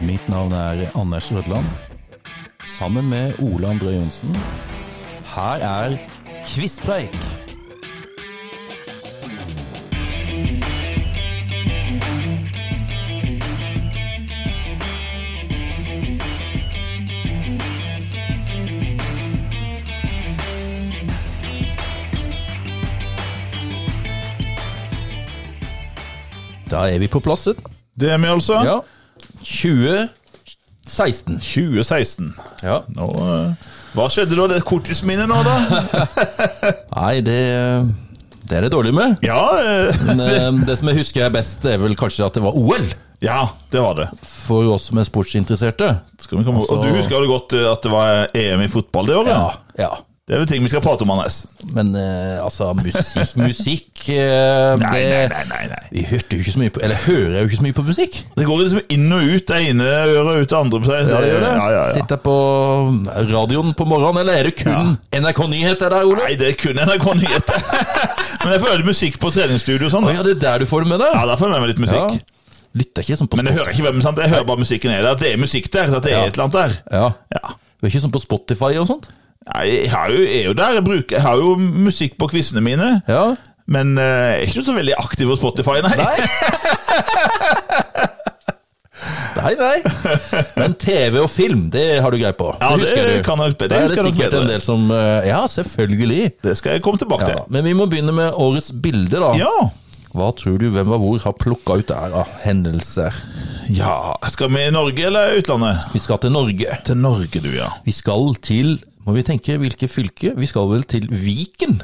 Mitt navn er Anders Rødland. Sammen med Ole André Johnsen. Her er Kvisspreik! Da er vi på plass. vet du. Det er vi altså. Ja. 2016. 2016. Ja. Nå, eh, hva skjedde da? Det er korttidsminnet nå, da? Nei, det, det er det dårlig med. Ja, eh, Men eh, det som jeg husker er best, er vel kanskje at det var OL. ja, det var det. For oss som er sportsinteresserte. Skal vi komme, og du husker jo godt eh, at det var EM i fotball det året? ja. Det er vel ting vi skal prate om, Anders. Men eh, altså, musikk, musikk eh, Nei, det, nei, nei, nei, nei. Vi hørte jo ikke så mye på Eller hører jo ikke så mye på musikk. Det går liksom inn og ut, det ene øret og ut det andre. på seg. Ja, ja, ja. Sitter jeg på radioen på morgenen, eller er det kun NRK Nyheter der, Ole? Nei, det er kun NRK Nyheter. Men jeg føler musikk på treningsstudio og sånn. Å da. ja, det er der du får det med deg? Ja, da føler jeg meg litt musikk. Lytter ikke sånn på Men jeg hører ikke hvem, sant? Jeg hører bare musikken er der. At det er musikk der, at det er Ja. et eller annet der. Ja. Ja. Du er ikke sånn på Spotify og sånt? Nei, jeg har jo, er jo der. Jeg, bruker, jeg har jo musikk på quizene mine. Ja. Men eh, jeg er ikke så veldig aktiv på Spotify, nei. Nei, nei. Men TV og film, det har du greie på. Ja, det husker du. kan jeg- det Da er det husker jeg nok sikkert bedre. en del som eh, Ja, selvfølgelig. Det skal jeg komme tilbake Ja, til. men vi må begynne med årets bilde, da. Ja. Hva tror du Hvem var hvor har plukka ut der av hendelser? ja. Skal vi i Norge eller utlandet? Vi skal til Norge. Til Norge, du, ja. Vi skal til Må vi tenke hvilke fylke? Vi skal vel til Viken?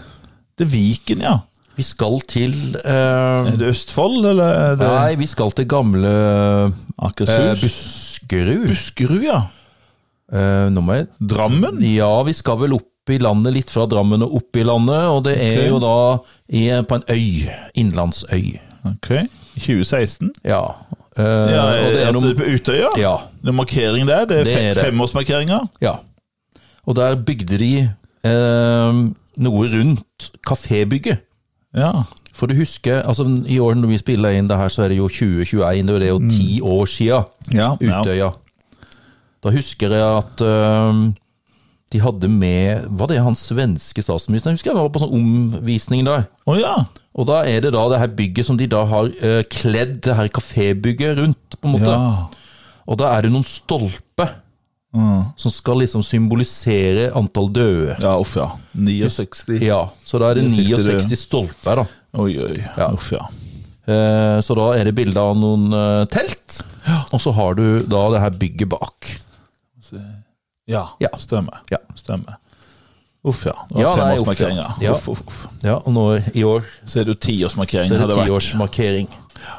Det er Viken, ja. Vi skal til eh, Er det Østfold, eller er det Nei, vi skal til gamle eh, Akershus? Buskerud. Buskerud, ja. Eh, nå må jeg Drammen? Ja, vi skal vel opp i landet, litt fra Drammen og opp i landet, og det er Ok. jo da i, på en øy, innlandsøy. Ok. 2016. Ja. Eh, Ja, og det er altså, noe, på Utøya? ja, Det er markering der. Det er, Det fe- er det. femårsmarkeringa. ja. Og der bygde de eh, noe rundt kafébygget. Ja. For du husker, altså i år når vi spiller inn det her, så er det jo 2021, og det er jo ti år sia ja. Mm. ja. Utøya. Da husker jeg at eh, de hadde med, var det han svenske statsministeren, husker jeg, han var på sånn omvisning der. Å ja. Og da er det da det her bygget som de da har eh, kledd det her kafébygget rundt, på en måte. ja. Og da er det noen stolper Mm. som skal liksom symbolisere antall døde. Ja, uff, ja. 69. Ja, så da er det 69 døde. 69 stolper, da. Oi, oi. Uff, ja. Eh, så da er det bilde av noen eh, telt, og så har du da det her bygget bak. Ja, Ja. stemmer. Ja. stemmer. Uff, ja. Det var Ja, nei, uff, femårsmarkeringa. ja. Uff, Ja. uff, uff. Ja, og nå i år Så er det jo tiårsmarkering. så er det hadde vært. tiårsmarkering.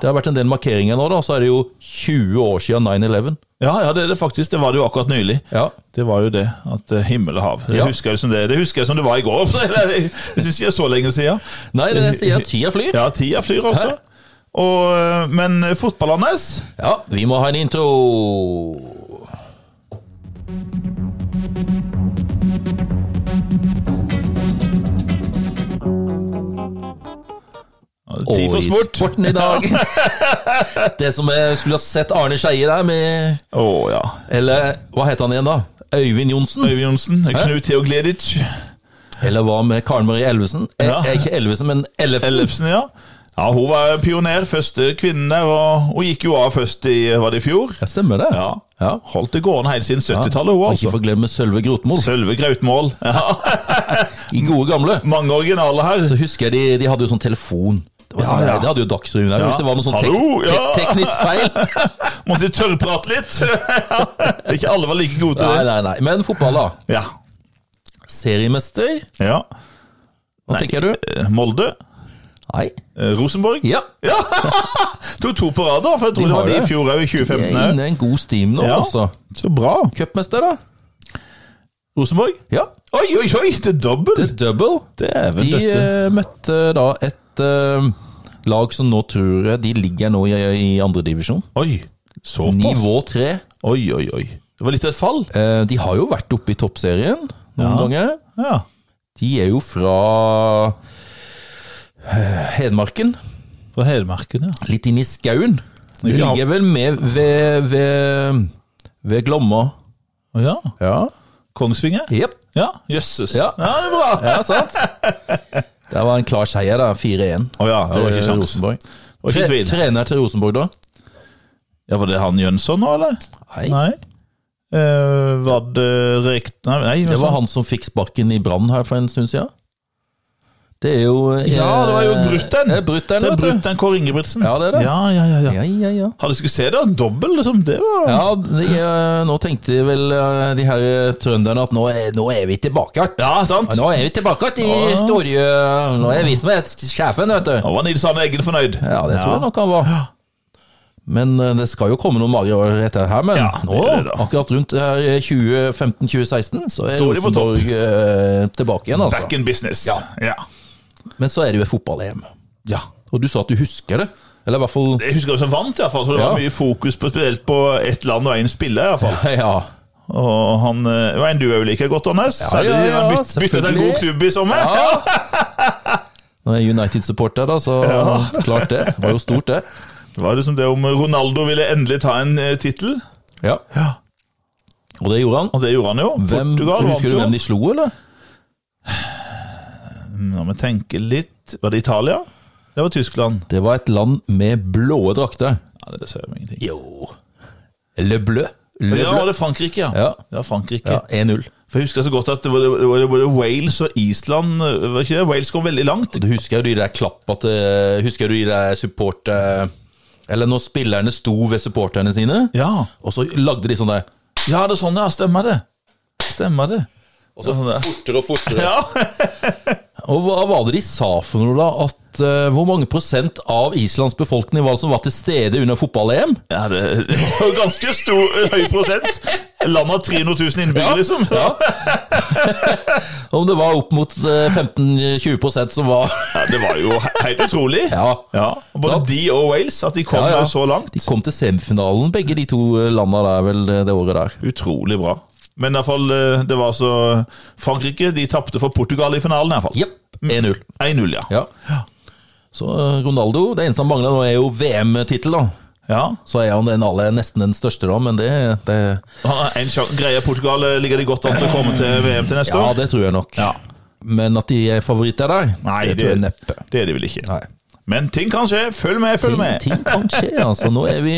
Det har vært en del markeringer nå, da. Så er det jo 20 år siden 9-11. Ja, ja, det er det faktisk. Det var det jo akkurat nylig. Ja. Det var jo det. At eh, himmel og hav. Det, Ja. husker jeg som det, det husker jeg som det var i går. Eller, jeg syns ikke det er så lenge siden. Nei, det er det jeg sier. Tida flyr. Ja, tida flyr, altså. Og, eh, men fotball-Anders Ja, vi må ha en intro. Tid for Og i sport. sporten i dag. det som jeg skulle ha sett Arne Skeie der med Å ja. Eller hva het han igjen, da? Øyvind Johnsen? Øyvind Johnsen. Knut Theo Gleditsch. Eller hva med Karen Marie Elvesen? Eh, Ja. eh, ikke Elvesen, men Ellefsen. Ellefsen, ja. Ja, Hun var pioner, første kvinnen der, og hun gikk jo av først i var det i fjor. Ja, stemmer det. Ja. Ja. Holdt det gående helt siden 70-tallet, hun, Og altså. ikke forglemme Sølve Grotmol. Sølve Grautmål. Ja, I gode gamle. mange originaler her. Så husker jeg de, de hadde jo sånn telefon. Det, var Ja, sånn, ja. det hadde jo Dagsrevyen her. Ja. Hvis det var noe sånn tek Hallo, ja. te teknisk feil. Måtte tørrprate litt. Ikke alle var like gode Nei, til det. nei, nei. Men fotball, da. Ja. Seriemester? ja. Hva tenker du? Eh, Molde. Nei. eh, Rosenborg. Ja. Tok to på rad, da, for jeg tror De det har var de i det. fjor òg, i Vi er 2015. også. inne i en god stim nå, Ja. altså. Så bra. Cupmester, da? Rosenborg. Ja. Oi, oi, oi! Det er dobbel! The Double. Dæven De døtte. eh, møtte da et eh, lag som nå tror jeg De ligger nå i, i andredivisjon. Oi. eh, Såpass. Nivå tre. Oi, oi, oi. Det var litt av et fall. Eh, de har jo vært oppe i toppserien noen ganger. Ja. De er jo fra eh, Hedmarken. Fra Hedmarken, ja. Litt inn i skauen. Det ligger vel med ved, ved, ved Glomma. Ja. Ja. Kongsvinger? Jepp. Ja, jøsses. Ja. det er bra. Å Ja, sant? Det var en klar seier, da. 4-1 ja, det var til ikke sjans. Rosenborg. Det var ikke Tre, tvil. trener til Rosenborg, da? Ja, Var det han Jønsson nå, eller? Nei. Nei. Eh, var det rekt... Nei, nei Det var han som fikk sparken i Brann her for en stund siden. Det er jo eh, Ja, det var jo Brutten. Det er Brutten, Det er vet du. brutter'n Kåre Ingebrigtsen. Ja, det er det. Ja, ja, ja, ja. Ja, ja, ja. Hadde skulle se det, dobbel, liksom. Det var Ja, de, eh, nå tenkte vel eh, de her eh, trønderne at nå er, nå er vi tilbake igjen. Ja, sant? Nå er vi tilbake igjen i Ja. Storjø. Nå er vi som er sjefen, vet du. Nå var Nils Arne Eggen fornøyd. Ja, det tror jeg Ja. nok han var. Men eh, det skal jo komme noen magre år etter her, men Ja, det nå, gjør det da. akkurat rundt her eh, 2015-2016, så er Da er de på topp. Rosenborg eh, tilbake igjen, Back altså. in business. Ja. ja. Men så er det jo et fotball-EM. Ja. Og du sa at du husker det? Eller i hvert fall Jeg husker det som vant, i hvert fall, for det var Ja. mye fokus på, spesielt på ett land og én spiller. i hvert fall. Ja. Og han eh, var en du òg liker godt, Anders. Ja, Særlig ja, de har ja, bytt- Byttet til en selvfølgelig. god klubb i sommer. Når jeg er United-supporter, da, så klart det. Det var jo stort, det. Det var liksom det om Ronaldo ville endelig ta en eh, tittel, Ja. Ja. Og det gjorde han. og det gjorde han jo. Hvem, Portugal vant husker du jo. hvem de slo, eller? Når vi tenker litt Var det Italia? Det var Tyskland. Det var et land med blåe drakter. Ja, det ser jeg meg ingenting. Jo Le Bleu. Le Ja, Bleu. var det Frankrike, ja. Ja. Det var Frankrike. Ja, 1-0. For Jeg husker så godt at det var, det var, det var Wales og Island eh, var ikke det? Wales kom veldig langt. Du husker jo de der klappa til Husker du de der support... eh, Eller når spillerne sto ved supporterne sine, Ja, og så lagde de sånn der. ja det er sånn, ja. Stemmer det. Stemmer det. Og så fortere og fortere. Ja, Og hva var det de sa for noe, da? At eh, Hvor mange prosent av Islands befolkning var det som var til stede under fotball-EM? ja det, det var ganske stor, høy prosent. Landet har 300 000 innbyggere, liksom. Ja. Om det var opp mot eh, 15-20 prosent som var Det var jo he- helt utrolig. Ja. Ja, og Både Sant. de og Wales, at de kom Ja, ja. så langt. De kom til semifinalen, begge de to eh, landa der vel eh, det året der. Utrolig bra. Men i hvert fall, eh, det var så Frankrike de tapte for Portugal i finalen, i hvert fall. Jepp. 1-0. 1-0, ja. Ja. Så eh, Ronaldo Det eneste han mangler nå, er jo VM-tittel, da. ja. Så er han den aller, nesten den største, da, men det, det Han har en sjan- Greier Portugal eh, ligger de godt an til å komme til VM til neste Ja, år? det tror jeg nok. Ja. Men at de er favoritter der, Nei, det, tror jeg neppe. Det er de vel ikke. Nei. Men ting kan skje. Følg med, følg Ting, med. ting kan skje, altså. Nå er vi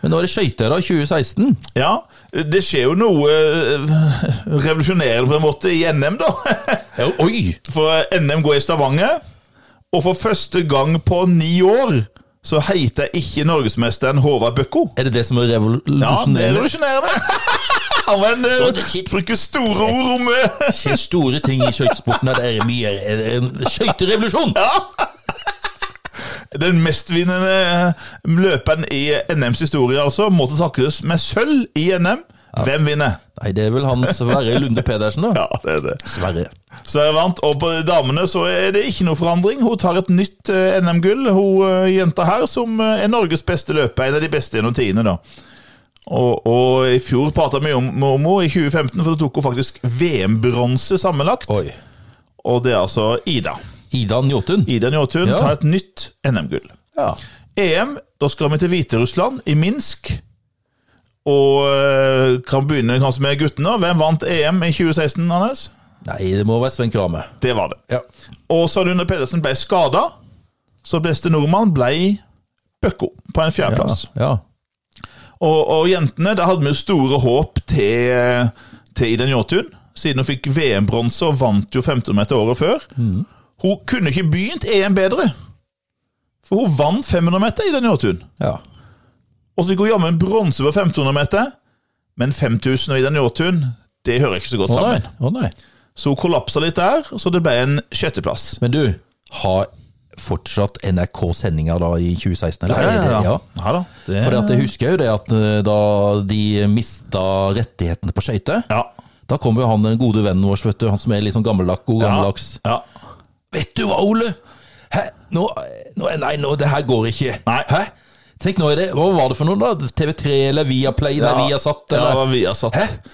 Men nå er det skøyter da, 2016. Ja, Det skjer jo noe eh, revolusjonerende på en måte i NM, da. Oi! For NM går i Stavanger, og for første gang på ni år så heter ikke norgesmesteren Håvard Bøkko. Er det det som er Ja, det er revolusjonerende? revolusjonerende. Han var en, eh, det er shit. bruker store ord om eh, skjer store ting i skøytesporten. Det er mye er det en skøyterevolusjon! den mestvinnende eh, løperen i NMs historie, altså. Måtte takkes med sølv i NM. Hvem vinner? Nei, det er vel han Sverre Lunde Pedersen, da. Ja, det er det. Sverre. Så jeg vant, og på damene så er det ikke noe forandring. Hun tar et nytt eh, NM-gull, hun eh, jenta her, som eh, er Norges beste løper. En av de beste gjennom tiende, da. Og, og i fjor prata vi om om henne, i 2015, for da tok hun faktisk VM-bronse sammenlagt. Oi. Og det er altså Ida. Ida Njåtun. Ida Njåtun Ja. tar et nytt NM-gull. Ja. EM, da skal vi til Hviterussland, i Minsk. Og eh, kan begynne kanskje med guttene. Hvem vant EM i 2016, Anders? Nei, det må være Sven Krame. Det var det. Ja. Og så Rune Pedersen ble skada, så beste nordmann ble Bøkko på en Ja. fjerdeplass. ja. Og, og jentene, der hadde vi jo store håp til, til Ida Njåtun, siden hun fikk VM-bronse og vant jo 15 meter året før. Hun kunne ikke begynt EM bedre, for hun vant 500 meter, Ida Njåtun. ja. Og så fikk hun jammen bronse på 1500 meter, men 5000 og Ida Njåtun, det hører ikke så godt Å nei. sammen. Å nei. Så hun kollapsa litt der, så det ble en sjetteplass. Men du, har fortsatt NRK sendinger da i 2016? Eller? Er det- Ja da. Det, Fordi at jeg husker jo det at eh, da de mista rettighetene på skøyter, Ja. da kom jo han den gode vennen vår, vet du, han som er litt sånn gammeldags, god gammeldags. Ja. Vet du hva, Ole? Hæ? Nå, nå, nei, nå, det her går ikke. Nei. Hæ? Tenk, nå er det Hva var det for noe, da? TV3 eller Viaplay? Ja. Nei, Viasat? Ja, det Eller? var Viasat. Hæ?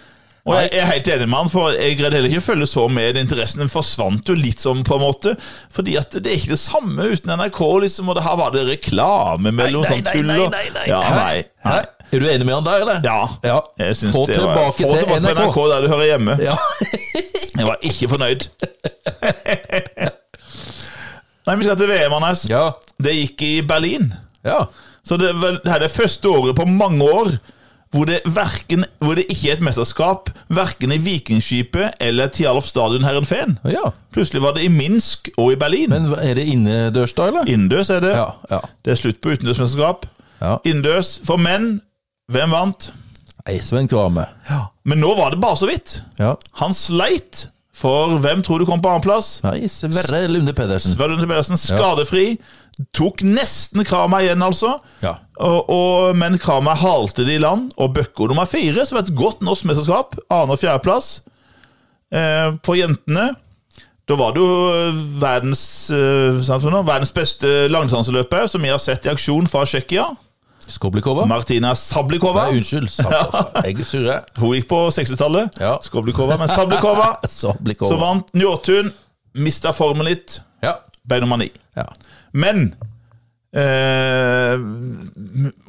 Og jeg jeg er helt enig med han, for jeg greide heller ikke å følge så med. Interessen den forsvant jo litt sånn, på en måte. Fordi at det er ikke det samme uten NRK, liksom, og det her var det reklame mellom Nei, nei, sånn tull nei, og nei, nei, nei. Ja, nei. Hæ? Er du enig med han der, eller? Ja. Jeg synes Få det var- tilbake Få til tilbake NRK. NRK der du hører hjemme. Ja. Jeg var ikke fornøyd. Nei, vi skal til VM, Anders. ja. Det gikk i Berlin. ja. Så det, er vel, det her er første året på mange år hvor det, hverken, hvor det ikke er et mesterskap, verken i Vikingskipet eller Tialf Stadion Herrenfeen. Ja. Plutselig var det i Minsk og i Berlin. Men hva- er det innendørs, da, eller? Innendørs er det. Ja. ja. Det er slutt på utendørsmesterskap. ja. Innendørs for menn. Hvem vant? Nei, Sven Krame. Men nå var det bare så vidt. Ja. Han sleit, for hvem tror du kom på annenplass? Nei, Sverre Lunde Pedersen. Sverre Lunde Pedersen skadefri. Tok nesten Kramer igjen, altså. Ja. Og, og, men Kramer halte det i land, og Bøkko nummer fire, som er et godt norsk mesterskap, annen- og fjerdeplass eh, på jentene. Da var det jo eh, verdens, eh, sant for noe, verdens beste langdistanseløper, som vi har sett i aksjon fra Tsjekkia. Skoblikova? Martina Sablikova. Nei, unnskyld. Sablikova. Jeg er surre. Hun gikk på 60-tallet. Ja. Skoblikova, men Sablikova, Sablikova. som vant Njåtun, mista formen litt, Ja. ble nummer ni. ja. Men eh,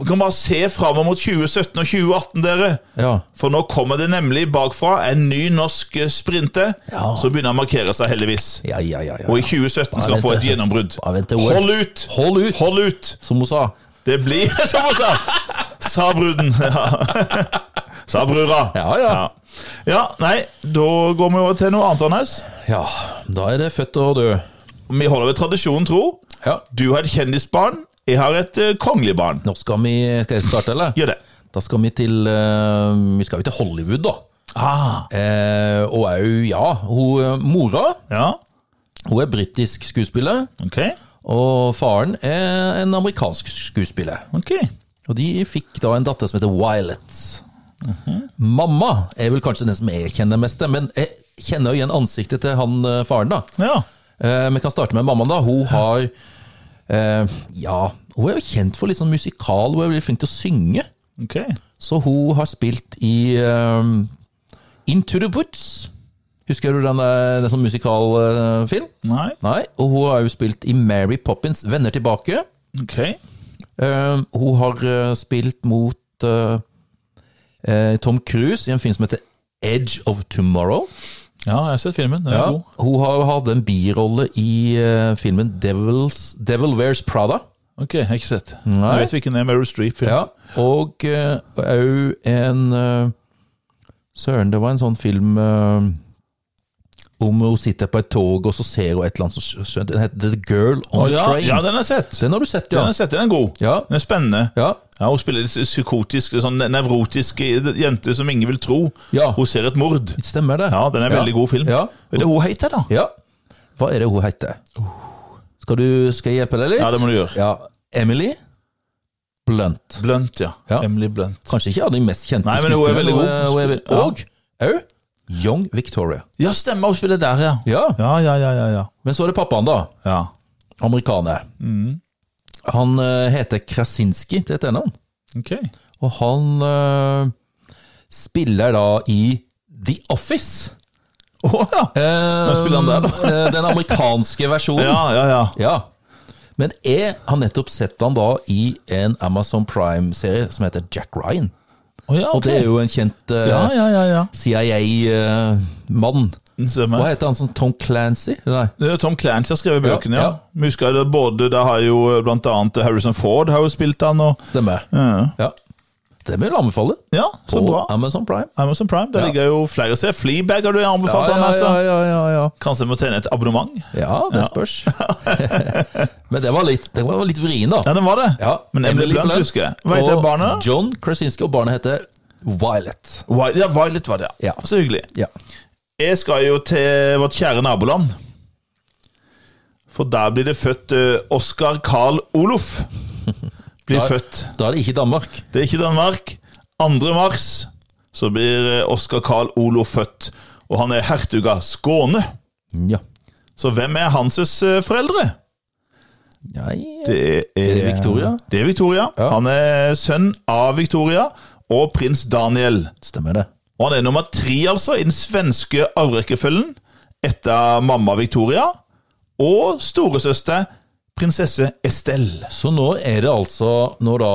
Vi kan bare se framover mot 2017 og 2018, dere. Ja. For nå kommer det nemlig bakfra en ny norsk eh, sprinter Ja. som begynner å markere seg, heldigvis. Ja, ja, ja. ja. Og i 2017 skal han få et vent. gjennombrudd. Bare vent til OL. Hold ut! Hold ut, Hold ut! som hun sa. Det blir som hun sa! Sa bruden. Ja. Sa brura. Ja, ja. Ja. ja, nei, da går vi over til noe annet, Anders. Ja, da er det født og død. Vi holder ved tradisjonen tro. Ja. Du har et kjendisbarn, jeg har et eh, kongelig barn. Nå skal vi Skal jeg starte, eller? Gjør det. Da skal vi til eh, Vi skal jo til Hollywood, da. Ah. Eh, og òg, ja. Hun, eh, mora Ja, hun er britisk skuespiller, ok. og faren er en amerikansk skuespiller. Ok. Og de fikk da en datter som heter Violet. Mamma er vel kanskje den som jeg kjenner mest, til, men jeg kjenner jo igjen ansiktet til han eh, faren, da. Ja. Eh, Vi kan starte med mammaen, da. Hun har eh, Ja, hun er jo kjent for litt sånn musikal, hun er veldig flink til å synge. Ok. Så hun har spilt i ehm, Into the Woods. Husker du den, eh, den sånn musikalfilm? Nei. Nei. Og hun har jo spilt i Mary Poppins Venner tilbake. Ok. Eh, hun har eh, spilt mot eh, eh, Tom Cruise i en film som heter Edge of Tomorrow. Ja, jeg har sett filmen. Den er Ja, god. hun har hatt en birolle i eh, filmen Devils, Devil Wears Prada. Ok, jeg har ikke sett. Nei. Jeg vet hvilken er Meryl Streep-film. Ja, og òg en eh, Søren, det var en sånn film eh, om hun sitter på et tog, og så ser hun et eller annet som skjønt. Den heter The Girl on Å, the ja, Train. ja, den har jeg sett. Den har du sett, Den ja. har jeg sett, den er god. Ja, Den er spennende. ja, Ja, Hun spiller en psykotisk, sånn nevrotisk eh, jente som ingen vil tro. Ja. Hun ser et mord. stemmer det. Ja, den er en veldig god film. Ja. Hva er det hun heter, da? ja. Hva er det hun heter? Skal, du, skal jeg hjelpe deg litt? Ja, det må du gjøre. Ja, Emily Blunt. Blunt, ja. Ja. Emily Blunt. Kanskje ikke av de mest kjente Nei, men hun er veldig god. men eh, hun er- hun er- Ja. Og au, Young Victoria. Ja, stemmer, hun spiller der, ja. Ja, Ja, ja, ja, ja. ja. Men så er det pappaen, da. ja. amerikaner. Han eh, heter Krasinski til etternavn, Ok. og han eh, spiller da i The Office. Å ja. Hva spiller han der, da? den amerikanske versjonen. Ja, ja, ja. Ja. Men jeg har nettopp sett han da i en Amazon Prime-serie som heter Jack Ryan. Å ja, Og ok. det er jo en kjent eh, Ja, ja, ja, ja. CIA-mann. eh, Hva Stemmer. heter han som Tom Clancy? Nei. Det er Tom Clancy har skrevet bøkene, ja. ja. Vi husker det både, der har jo eh, blant annet Harrison Ford har jo spilt han, og Stemmer. Ja. Ja. Det vil jeg anbefale. Ja, så På bra. Amazon Prime. Amazon Prime, der Ja. ligger jo flere serier. Fleabag har du anbefalt ja, han, altså. ja, ja, ja, ja. Kanskje jeg må tegne et abonnement? Ja, det spørs. Men det var litt, det var litt vrien, da. Ja, den var det. Ja, Men Emily Blunt, husker jeg. Hva heter og barnet? John Krasinski, og barnet heter Violet. Violet, ja, Violet var det, Ja. Så hyggelig. Ja. Jeg skal jo til vårt kjære naboland. For der blir det født eh, Oscar Carl Olof. Blir Der. født. Da er det ikke Danmark. Det er ikke Danmark. 2. mars så blir eh, Oscar Carl Olof født. Og han er hertug av Skåne. Ja. Så hvem er hans eh, foreldre? Nei Det er, eh, det Victoria? Det er Victoria. Ja. Han er sønn av Victoria og prins Daniel. Stemmer det. Og han er nummer tre, altså, i den svenske arverekkefølgen etter mamma Victoria og storesøster prinsesse Estelle. Så nå er det altså, når da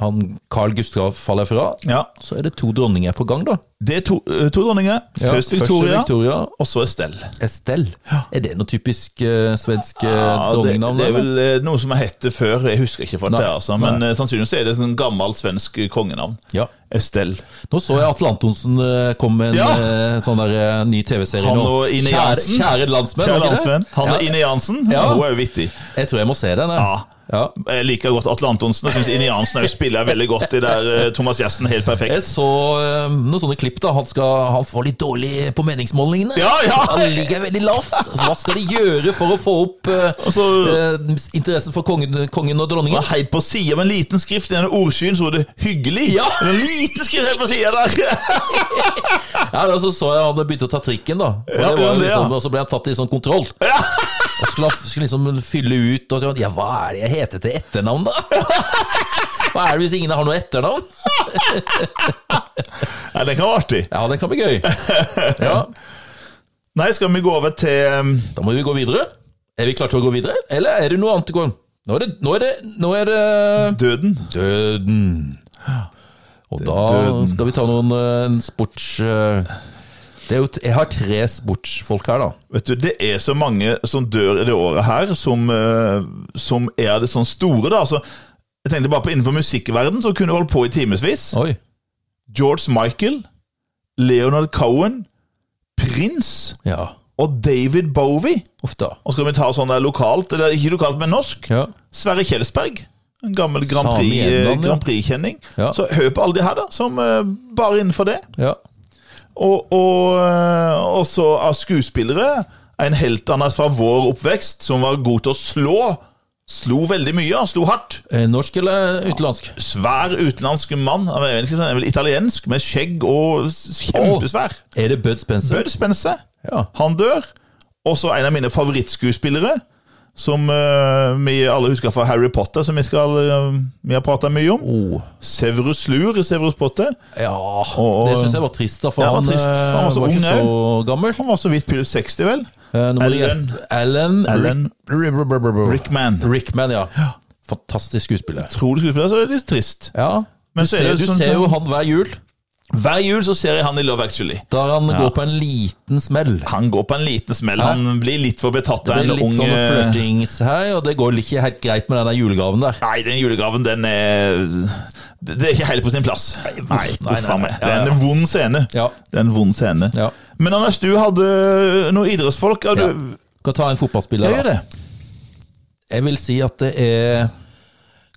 han Carl Gustav faller fra, Ja, så er det to dronninger på gang, da. Det er to, eh, to dronninger. Ja, først er Victoria, Victoria og så Estelle. Estelle. Er det noe typisk eh, svensk eh, det, dronningnavn? det er eller? vel eh, noe som har hett det før. Jeg husker ikke fra Nei, det, altså, men eh, sannsynligvis er det et sånn gammelt svensk kongenavn. Ja. Estelle. Nå så jeg Atle Antonsen eh, kom med en Ja! eh, sånn der eh, ny TV-serie Han nå. og Ine Kjære, Jansen. kjære landsmenn. Kjære var ikke det? landsvenn. Han Ja. er Ine Jansen. Ja. Hun er jo vittig. Jeg tror jeg må se den. jeg. Ja. Ja. Jeg liker godt Atle Antonsen. Jeg syns Ine Jansen er jo spiller veldig godt i der eh, Thomas Gjertsen helt perfekt. Jeg så eh, noen sånne klipp. da Han, skal, han får litt dårlig på meningsmålingene. Ja, ja! Han ligger veldig lavt. Hva skal de gjøre for å få opp eh, Altså- eh, interessen for kongen, kongen og Det dronningen? var helt på sida med en liten skrift i denne ordskyen, så var det 'hyggelig'. Ja. Men En liten skrift helt på sida der! Ja, da, så så jeg han begynte å ta trikken, da. Og, Ja, det var, ja, jo det, ja. liksom, og så ble han tatt i sånn kontroll. Ja. Og skulle, han- skulle liksom fylle ut og sånn Ja, hva er det jeg heter til etternavn, da? Hva er det hvis ingen har noe etternavn? Ja, den kan være artig. Ja, det kan bli gøy. Ja, Nei, skal vi gå over til um, Da må vi gå videre. Er vi klare til å gå videre, eller er det noe annet å gå? Nå er det, nå er det, nå er det døden? Døden. Og da døden. skal vi ta noen eh, en sports... eh, Det er jo, t- jeg har tre sportsfolk her, da. Vet du, Det er så mange som dør i det året her, som, eh, som er det sånn store, da. Altså, jeg tenkte bare på innenfor musikkverden, som kunne holdt på i timevis. Oi. George Michael, Leonard Cohen, Prince Ja. og David Bowie. Uff da. Og skal vi ta sånn der lokalt, eller ikke lokalt, men norsk? Ja. Sverre Kjelsberg. En gammel Grand Same Prix, i eh, England, ja. Grand Prix-kjenning. Ja. Så hør på alle de her, da, som eh, bare innenfor det. ja. Og, og, eh, og så av skuespillere En helt annet fra vår oppvekst Som var god til å slå Slo veldig mye, han slo hardt Eh, Norsk eller utenlandsk? Svær utenlandsk mann Han er vel ikke sånn- er vel italiensk med skjegg og s- kjempesvær Er det Bud Spencer? Bud Spencer, Ja. han dør Og så en av mine favorittskuespillere Som eh, vi alle husker fra Harry Potter Som vi, skal, eh, vi har pratet mye om Oh. Severus Lur i Severus Potter Ja, og- det syns jeg var trist, da. For Ja, det var han, trist, for han eh, var så var ung ikke så gammel. Han var så vidt plus 60 vel Eh, nå må du Alan- hjelpe- Alan Alan Rick- Rick- Rick- Rick- Rick- Rickman Rickman, ja. Fantastisk skuespiller. Trolig skuespiller, så er det litt trist Ja. Du, Men så er ser, det du sånn- ser jo han hver jul, Hver jul så ser jeg han i Love Actually. der han går på en liten smell. Han går på en liten smell. Han blir litt for betatt av Det en blir litt ung sånn eh, flørtings her, og det går ikke helt greit med den der julegaven der. Nei, den julegaven, den er Det det er ikke helt på sin plass. Nei, nei, uff a nei. meg. Det er en vond scene. Ja. Det er en vond scene. Ja. Men Anders, du hadde noen idrettsfolk. Ja, du, ja. Kan ta en fotballspiller, Jeg gjør da. det. Jeg vil si at det er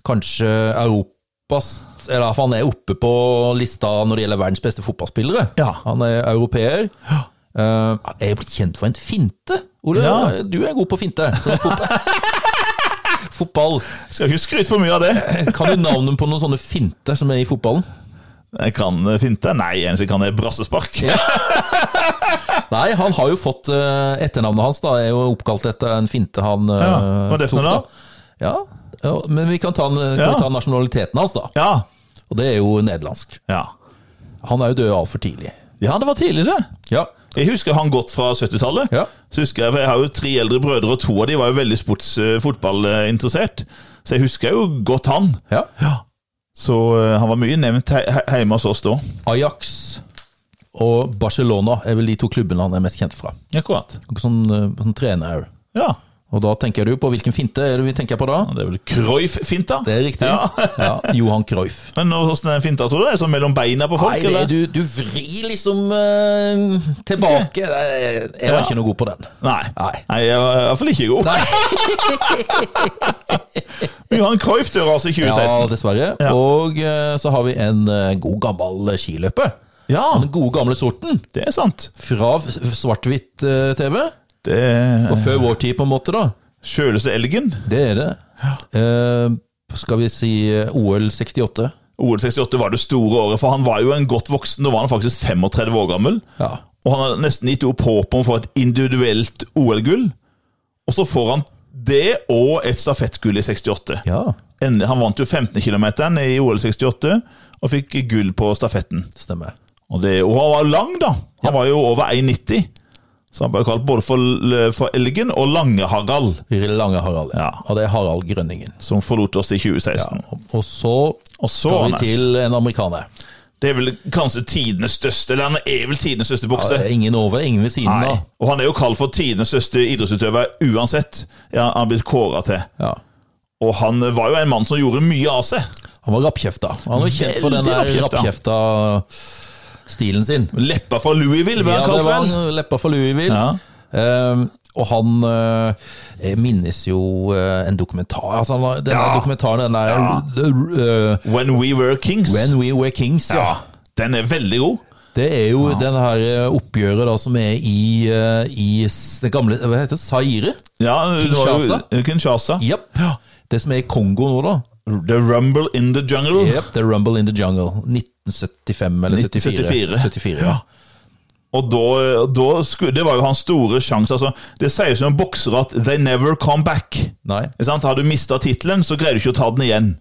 kanskje Europas Eller iallfall han er oppe på lista når det gjelder verdens beste fotballspillere. Ja. Han er europeer. Eh, jeg er blitt kjent for en finte. Ole, Ja. du er god på finte. Så fotball. fotball. Skal ikke skryte for mye av det. Kan du navnet på noen sånne finter som er i fotballen? Jeg kan eh, finte. Nei, eneste jeg kan, er brassespark. Nei, han har jo fått eh, Etternavnet hans da, er jo oppkalt etter en finte han eh, Ja, hva er det for tok. noe da? Ja, ja, Men vi kan ta, en- eh, kan Ja. vi ta nasjonaliteten hans, da. Ja. Og det er jo nederlandsk. ja. Han er jo død altfor tidlig. Ja, det var tidlig, det. Ja. Jeg husker han godt fra 70-tallet. Ja. Så husker Jeg for jeg har jo tre eldre brødre, og to av de var jo veldig sports eh, fotballinteressert. Så jeg husker jo godt han. ja. Så eh, han var mye nevnt he he hjemme hos oss da. Ajax og Barcelona er vel de to klubbene han er mest kjent fra. Akkurat. Og Som, eh, som trener òg. Ja. Og da tenker du på hvilken finte er det vi tenker på da? Det er vel Cruyff-finta? Det er riktig. Ja. Johan Cruyff. Men hvordan er den finta, tror du? Er det sånn mellom beina på folk? Nei, det, eller? du, du vrir liksom eh, tilbake. Jeg, jeg var Ja. ikke noe god på den. Nei. Nei. jeg var i hvert fall ikke god. Johan Cruyff dør altså i Ja, 2016. dessverre. Ja. Og eh, så har vi en eh, god gammel skiløper. Ja, Den gode gamle sorten. det er sant. Fra f- svart-hvitt-TV. Det er Og før vår tid, på en måte, da. Sjøleste elgen. Det er det. Eh, skal vi si eh, OL 68? OL 68 var det store året, for han var jo en godt voksen. Da var han faktisk 35 år gammel. Ja. Og han har nesten gitt opp håpet om å få et individuelt OL-gull. Og så får han det og et stafettgull i 68. ja. Endelig- Han vant jo 15 km i OL 68 og fikk gull på stafetten. Stemmer. Og, det, og han var lang, da. Han var jo over 1,90. Så han ble kalt både for, for Elgen og Lange-Harald, Lange Harald. Ja. Og det er Harald Grønningen. som forlot oss i 2016. Og- Og så Og så, tar vi Anders, til en amerikaner. det er vel kanskje tidenes største Eller han er vel tidenes største bokse. Ja, ingen over, ingen ved siden Nei. av. Og han er jo kalt for tidenes største idrettsutøver uansett. Ja, han er blitt kåra til. Ja. Og han var jo en mann som gjorde mye av seg. Han var rappkjefta. Han var kjent for den Veldig der rappkjefta. rappkjefta-stilen sin. Leppa fra Louisville, var Ja, han det kalt var vel? han, leppa for Louisville. Ja. Eh, og han eh, jeg minnes jo eh, en dokumentar altså han var, Den der Ja. dokumentaren, den der eh, When We Were Kings. When We Were Kings, ja. ja. Den er veldig god. Det er jo den her eh, oppgjøret da som er i, eh, i s- det gamle Hva heter det? Zaire? Ja, det var jo- Kinshasa? eh, Kinshasa. Japp. Det som er i Kongo nå, da. The Rumble in the Jungle. Japp, The Rumble in the Jungle. 1975 eller 74. 1974. 74, ja. Og da, da skulle, Det var jo hans store sjanse. Altså, det sies jo om boksere at 'they never come back'. Nei. Ikke sant? Har du mista tittelen, så greier du ikke å ta den igjen.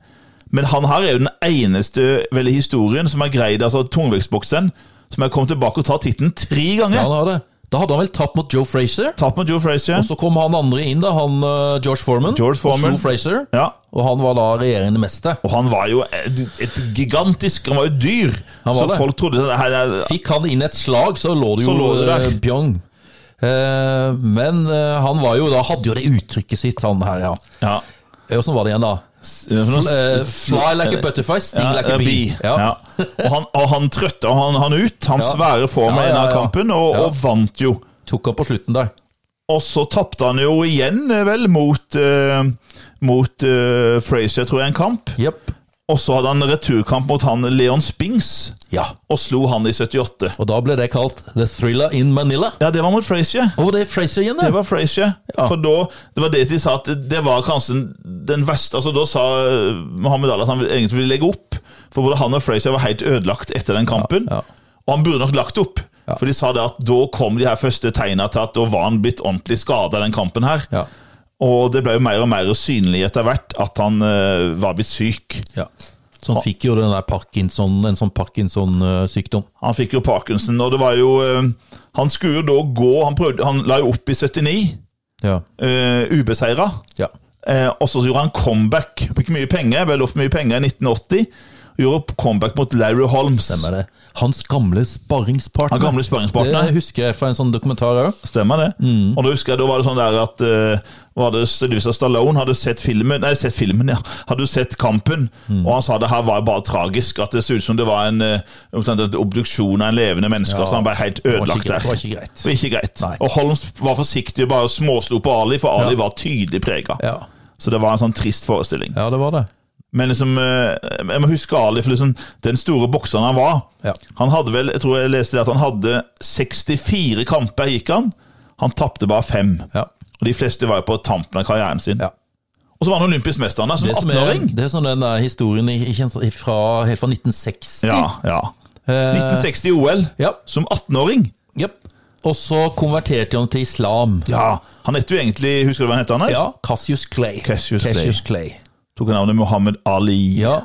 Men han her er jo den eneste vel, i historien som har greid altså tungvektsbokseren som har kommet tilbake og tatt tittelen tre Ja, ganger. han har det. Da hadde han vel tapt mot Joe Frazier. Tapt mot Joe Frazier. Og så kom han andre inn, da, han eh, George Foreman. George Foreman. Og slo Frazier. Ja. Og han var da regjerende mester. Og han var jo et, et gigantisk Han var jo dyr! Han var så det. folk trodde det her er Fikk han inn et slag, så lå det jo Så lå det der. eh, pjong. Eh, men eh, han var jo da hadde jo det uttrykket sitt, han her, ja. Eh, ja. Åssen var det igjen, da? Fl eh, fly like a butterfly, sting Ja, eh, like a bee. Ja. Ja. Og han, og han trøtta han, han ut. Han Ja. svære form Ja, ja, i denne ja. kampen, og, Ja. og vant jo. Tok han på slutten der. Og så tapte han jo igjen, eh, vel, mot, eh, mot eh, Frazier, tror jeg, en kamp. Jepp. Og så hadde han returkamp mot han Leon Spings, Ja. og slo han i 78. Og da ble det kalt The Thriller in Manila. Ja, det var mot Frazier. Og det er Fraser igjen, Det det. var Frazier. Ja. For da, det var det de sa, at det var kanskje den verste Altså, da sa eh, Mohammed Ali at han egentlig ville legge opp, for både han og Frazier var helt ødelagt etter den kampen. ja. Og han burde nok lagt opp, for de sa det at da kom de her første tegna til at da var han blitt ordentlig skada den kampen her. Ja. Og det ble jo mer og mer synlig etter hvert at han eh, var blitt syk. ja. Så han fikk jo den der Parkinson, en sånn Parkinson-sykdom. Han fikk jo Parkinson, og det var jo eh, Han skulle jo da gå Han, prøvde, han la jo opp i 79, Ja. uh, ubeseira. ja. Eh, og så gjorde han comeback. Fikk mye penger, ble lovt mye penger i 1980. og Gjorde comeback mot Larry Holmes. Stemmer det. Hans gamle sparringspartner. Han gamle sparringspartner. Det husker jeg fra en sånn dokumentar òg. Stemmer det. Mm. Og da husker jeg, da var det sånn der at eh, var det Sylvester Stallone hadde sett filmen Nei, sett filmen, ja. Hadde jo sett kampen. Mm. Og han sa det her var bare tragisk. At det så ut som det var en eh, omtrent en obduksjon av en levende menneske. Ja. Så han ble helt Det var ødelagt ikke greit. der. Det var ikke greit. Og ikke greit. Nei. Og Holm var forsiktig og bare småslo på Ali, for Ali var tydelig prega. Ja. Så det var en sånn trist forestilling. ja, det var det. Men liksom, eh, jeg må huske Ali, for liksom, den store bokseren han var Ja. Han hadde vel, jeg tror jeg leste det, at han hadde 64 kamper, gikk han. Han tapte bare fem. Ja. Og de fleste var jo på tampen av karrieren sin. Ja. Og så var han olympisk mester han da, som Det, som er, 18-åring. det er sånn den der historien i- i- fra, helt fra 1960. Ja, ja. Eh, 1960 OL, ja. som 18-åring. Jepp. Og så konverterte han til islam. Ja, Han heter jo egentlig Husker du hva han heter? Anders? Ja, Cassius Clay. Cassius Clay. Clay. Tok han navnet Mohammed Ali. Ja.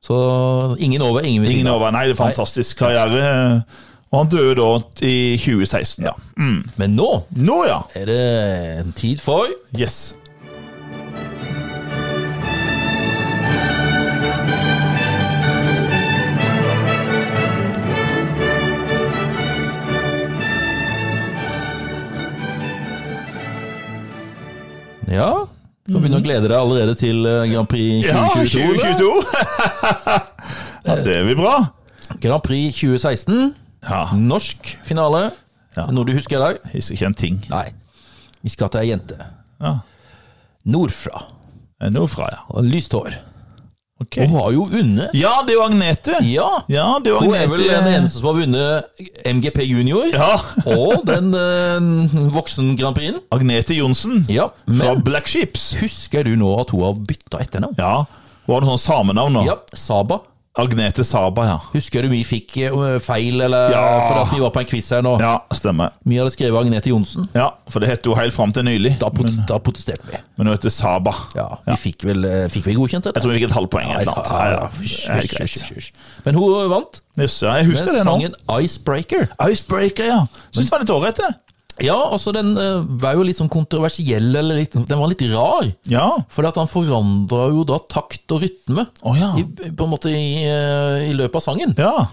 Så ingen over, ingen ved Ingen siden av. over. Nei, det er fantastisk karriere. Og han døde da i 2016. Ja. Mm. Men nå Nå, ja. er det en tid for Yes. Ja, du kan begynne å glede deg allerede til eh, Grand Prix Mm. Ja, 2022. eller? 2022! ja, det blir bra. Grand Prix 2016. Ja, Norsk finale. Ja. Noe du husker i dag? jeg husker ikke en ting. Nei. Vi skal til ei jente. Ja. Nordfra. Eh, Jeg er Nå fra, ja. Og lyst hår. Ok. Hun har jo vunnet. Ja, det er jo Agnete! Ja. Ja, det er jo Hun er Agnete. vel den eneste som har vunnet MGP junior. eh. Ja. Og den eh, voksen Grand Prixen. Agnete Johnsen Ja, fra men Black Sheeps. husker du nå at hun har bytta etternavn? Ja. Hun har noe sånn samenavn nå. Ja, Saba. Agnete Saba, ja. Husker du vi fikk eh, feil, eller Ja. for at vi var på en quiz her nå? Ja, stemmer. Vi hadde skrevet Agnete Johnsen. Ja, For det het jo helt fram til nylig. Da, protest, da protesterte vi. Men nå heter det Saba. Ja, Vi fikk vel eh, fikk vi godkjent Jeg dette? ah, tror vi fikk et halvt poeng. Ja, eller jeg noe tar- sånt. ja, ja. Ja, Hysj, ja. Helt hysj, hysj, greit. hysj. Men hun eh, vant Jøss, ja, jeg med husker det nå. sangen 'Icebreaker'. Icebreaker, ja. Syns det var litt ålreit, det. Ja, altså Den eh, var jo litt sånn kontroversiell, eller litt, den var litt rar. Ja. Fordi at han forandra jo da takt og rytme Å, ja. i, på en måte i, eh, i løpet av sangen. ja.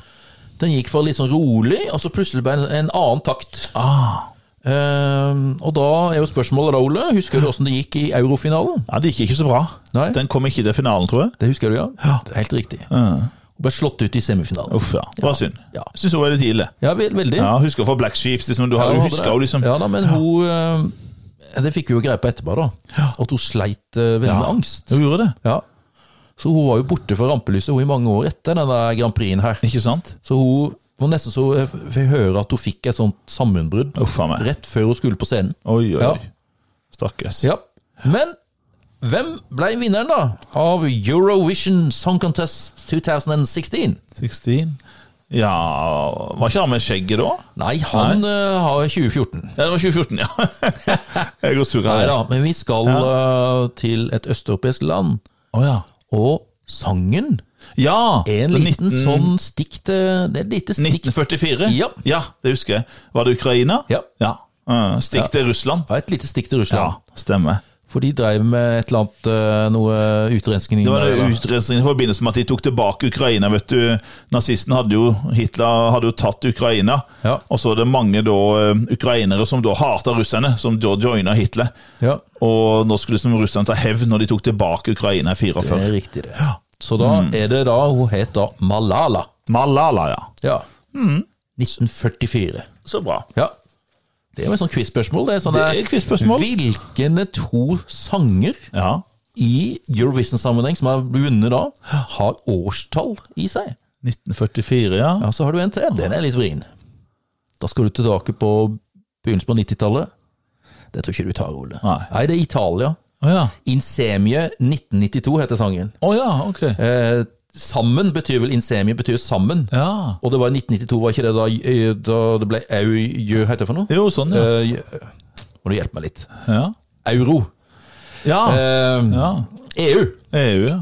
Den gikk fra litt sånn rolig, og så plutselig ble det en, en annen takt. Ah. Ehm, og da er jo spørsmålet da, Ole, husker du åssen det gikk i eurofinalen? ja, det gikk ikke så bra. Nei. Den kom ikke til finalen, tror jeg. Det husker du, ja? Det er Helt riktig. Hun ble slått ut i semifinalen. Uff, ja. Det var synd. Ja. Syns hun var litt ille. Ja, ve- veldig. Ja, husker fra Black Sheeps, liksom. Du, har- Ja, du hun hadde husker det. jo liksom Ja da, men hun eh, Det fikk vi jo greie på etterpå, da. At hun sleit eh, veldig med angst. Hun gjorde det. Ja. Så hun var jo borte fra rampelyset hun i mange år etter denne Grand Prix-en her. Ikke sant? Så hun var nesten så jeg f- jeg hører at hun fikk et sånt sammenbrudd Uff a meg. rett før hun skulle på scenen. Oi, oi. Ja. Stakkars. Ja. Men hvem ble vinneren, da? Av Eurovision Song Contest 2016? 16 Ja Var ikke han med skjegget da? Nei, han eh, har 2014. Ja, det var 2014, ja. jeg går sur Nei her. da, men vi skal eh, til et østeuropeisk land. Å ja. Og sangen Ja! er en det var liten 19 sånn stikk til Det er et lite stikk 1944? Ja. det husker jeg. Var det Ukraina? Ja. ja. Mm, Stikk til Russland? ja, et lite stikk til Ja, Russland. stemmer. For de drev med et eller annet eh, noe utrenskning Det var der, da. en utrensning i forbindelse med at de tok tilbake Ukraina. vet du. Nazistene hadde jo, Hitler hadde jo tatt Ukraina, Ja. og så var det mange da, eh, ukrainere som da hata russerne, som da joina Hitler. Ja, Og nå skulle liksom russerne ta hevn når de tok tilbake Ukraina i det 44. er riktig, det. Så da Mm. er det da Hun het da Malala. Malala, ja. Ja. Mm. 1944. Så bra. Ja. Det er jo et sånt quiz-spørsmål. Det er sånn Det der, er quiz-spørsmål. Hvilke to sanger Ja. i Eurovision-sammenheng som har vunnet da, har årstall i seg? 1944, ja. Ja, så har du en til. Den er litt vrien. Da skal du tilbake på begynnelsen på 90-tallet. Det tror ikke du tar, Ole. Nei. det er Italia. Å ja. Insemie 1992 heter sangen. Å ja, ok. Eh, sammen betyr vel Insemie betyr sammen. Ja. Og det var i 1992, var ikke det da, eh, da det ble EU, jø, heter det for noe? Jo, sånn, ja. Eh, jø- må du hjelpe meg litt. Ja. Euro. ja. Eh, ja. EU. EU, ja.